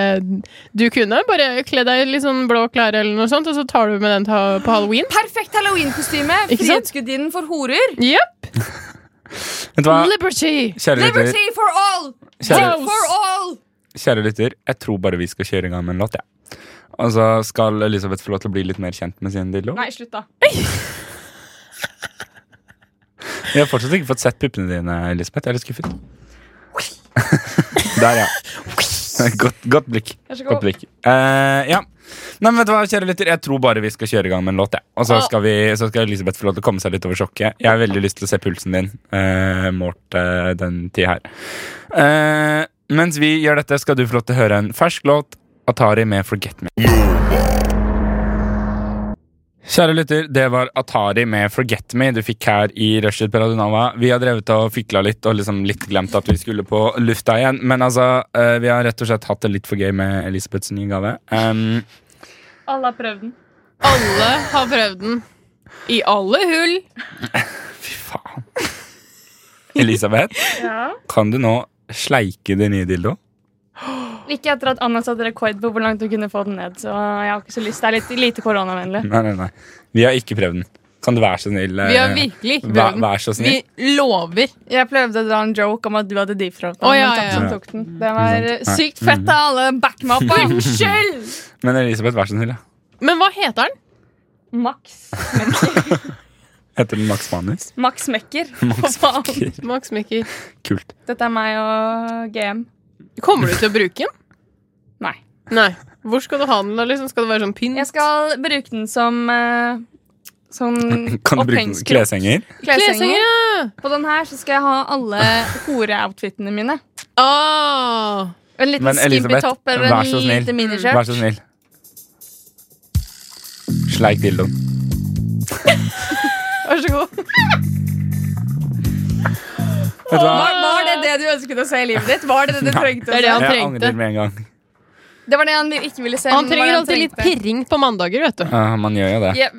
Du kunne bare kle deg i litt sånn blå klær eller noe sånt, og så tar du med den ta- på halloween.
Perfekt halloweenkostyme.
Ikke sant?
Frihetsgudinnen for horer.
Yep.
Vet du hva?
Liberty!
Kjære lytter,
Liberty for all!
kjære,
For all!
kjære lytter, jeg tror bare vi skal kjøre i gang med en låt, jeg. Og så skal Elisabeth få lov til å bli litt mer kjent med sin dildo.
Nei, slutt, da.
Jeg har fortsatt ikke fått sett puppene dine, Elisabeth. Jeg er litt skuffet. Der, ja. Godt, godt blikk.
så god.
Godt blikk. Eh, ja. Nei, men vet du hva, kjære lytter, jeg tror bare vi skal kjøre i gang med en låt. jeg. Og så skal, vi, så skal Elisabeth få lov til å komme seg litt over sjokket. Jeg har veldig lyst til å se pulsen din eh, målt eh, den tida her. Eh, mens vi gjør dette, skal du få lov til å høre en fersk låt. Atari med Forget Me. Kjære lytter, det var Atari med Forget Me du fikk her i Rushet Peradunava. Vi har drevet og fikla litt og liksom litt glemt at vi skulle på lufta igjen. Men altså, eh, vi har rett og slett hatt det litt for gøy med Elisabeths nye gave. Um,
Alle har prøvd den.
Alle har prøvd den. I alle hull.
fy faen. Elisabeth, kan du nå sleike din nye dildo?
Ikke etter at Anna satte rekord på hvor langt hun kunne få den ned. Så jeg har ikke så lyst. Det er litt lite koronavennlig.
Nei, nei, nei. Vi har ikke prøvd den. Kan du være så snill?
Vi har
eh,
virkelig ikke
vær,
prøvd den.
vær så snill.
Vi lover.
Jeg prøvde å dra en joke om at du hadde deep throat.
Å, ja, ja,
ja.
Tok den. Det var eh,
Nei.
sykt fett av alle backmappa. Unnskyld!
Men Elisabeth, vær så snill. Ja.
Men hva heter den?
Max.
Heter den Max Manus?
Max Mekker. Hva faen?
Max Mikker.
Kult.
Dette er meg og GM.
Kommer du til å bruke den?
Nei.
Nei. Hvor skal du ha den? da? Liksom? Skal det være sånn pynt?
Jeg skal bruke den som eh, Sånn
Kan du bruke den som
opphengskrok.
kleshenger?
Kleshenger,
Kleshenger.
ja!
På den her så skal jeg ha alle horeoutfitene mine.
Ah.
En liten
Men
skimpy
Elisabeth,
topp eller
vær
en
så snill.
liten
Vær
miniskjørt.
så snill. Sleik dildoen.
Vær så god.
Vet du hva?
Var, var det det du ønsket å se i livet ditt? Var det det du
Nei.
trengte
Det
å
er det
se?
han
Jeg
trengte.
angrer med en gang.
Det var det han ikke ville se.
Han
men det var det
trenger alltid litt
trengte.
pirring på mandager, vet du.
Ja, man gjør jo det.
Ja,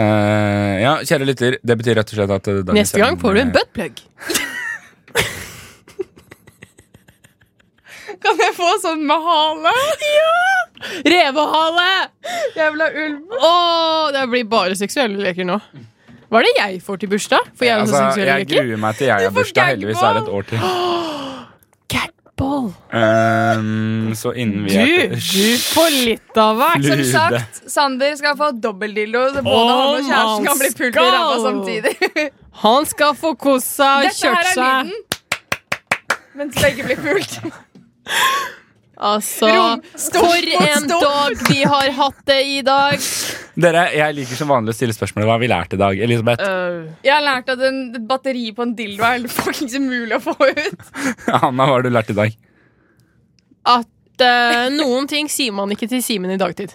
Eh, ja, kjære lytter, det betyr rett og slett at eh, dagens
Neste gang
sending-
får du en buttplug.
Kan jeg få sånn med hale?
Revehale!
Jævla ulv.
Åh, det blir bare seksuelle leker nå. Hva er det jeg får til bursdag? Får jeg også
Altså,
seksuelle
jeg
leker?
gruer meg til jeg har bursdag. Heldigvis er det et år til.
Ball.
Ehm, så innen vi
Du, du får litt av hvert.
Som
Lude.
sagt, Sander skal få dobbeltdildo, så både
Oh,
Om
han og kjæresten
han
kan bli pult i ræva
skal.
samtidig.
Han skal få kose seg og
Dette her
kjørt
er
seg.
lyden mens begge blir pult.
Altså,
Rom- stopp
for
og
en
stopp.
dag vi har hatt det i dag.
Dere, jeg liker som vanlig å stille spørsmål Hva har vi lært i dag, Elisabeth?
Øh. Jeg har lært at en, et batteri på en dildo er fuckings umulig å få ut.
Hanna, hva har du lært i dag?
At eh, noen ting sier man ikke til Simen i dagtid.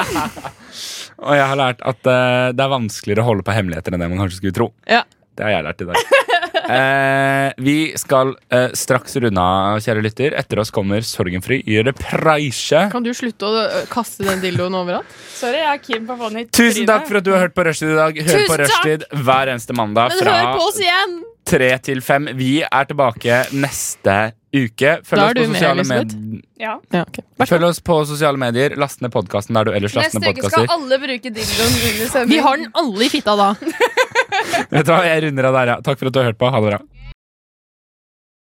Og jeg har lært at eh, det er vanskeligere å holde på hemmeligheter enn det man kanskje skulle tro.
Ja.
Det har jeg lært i dag. Eh, vi skal eh, straks runde av, kjære lytter. Etter oss kommer Sorgenfri i reprise.
Kan du slutte å eh, kaste den dildoen overalt?
Sorry, jeg er keen på å få den i
Tusen takk for at du har hørt på Rushtid i dag. Hør
Tusen
på
takk!
Rushtid hver eneste mandag
Men
fra
hør på oss igjen!
tre til fem. Vi er tilbake neste uke.
Da
Følg oss på
er du med,
sosiale
Elisabeth.
med-
Ja.
Ja, ok.
Følg oss på sosiale medier. Last ned podkasten der du ellers laster
Neste
ned
uke skal
podkaster.
alle bruke dildoen under sending.
Vi har den alle i fitta da.
Vet du hva, Jeg runder av der, ja. Takk for at du har hørt på. Ha det bra.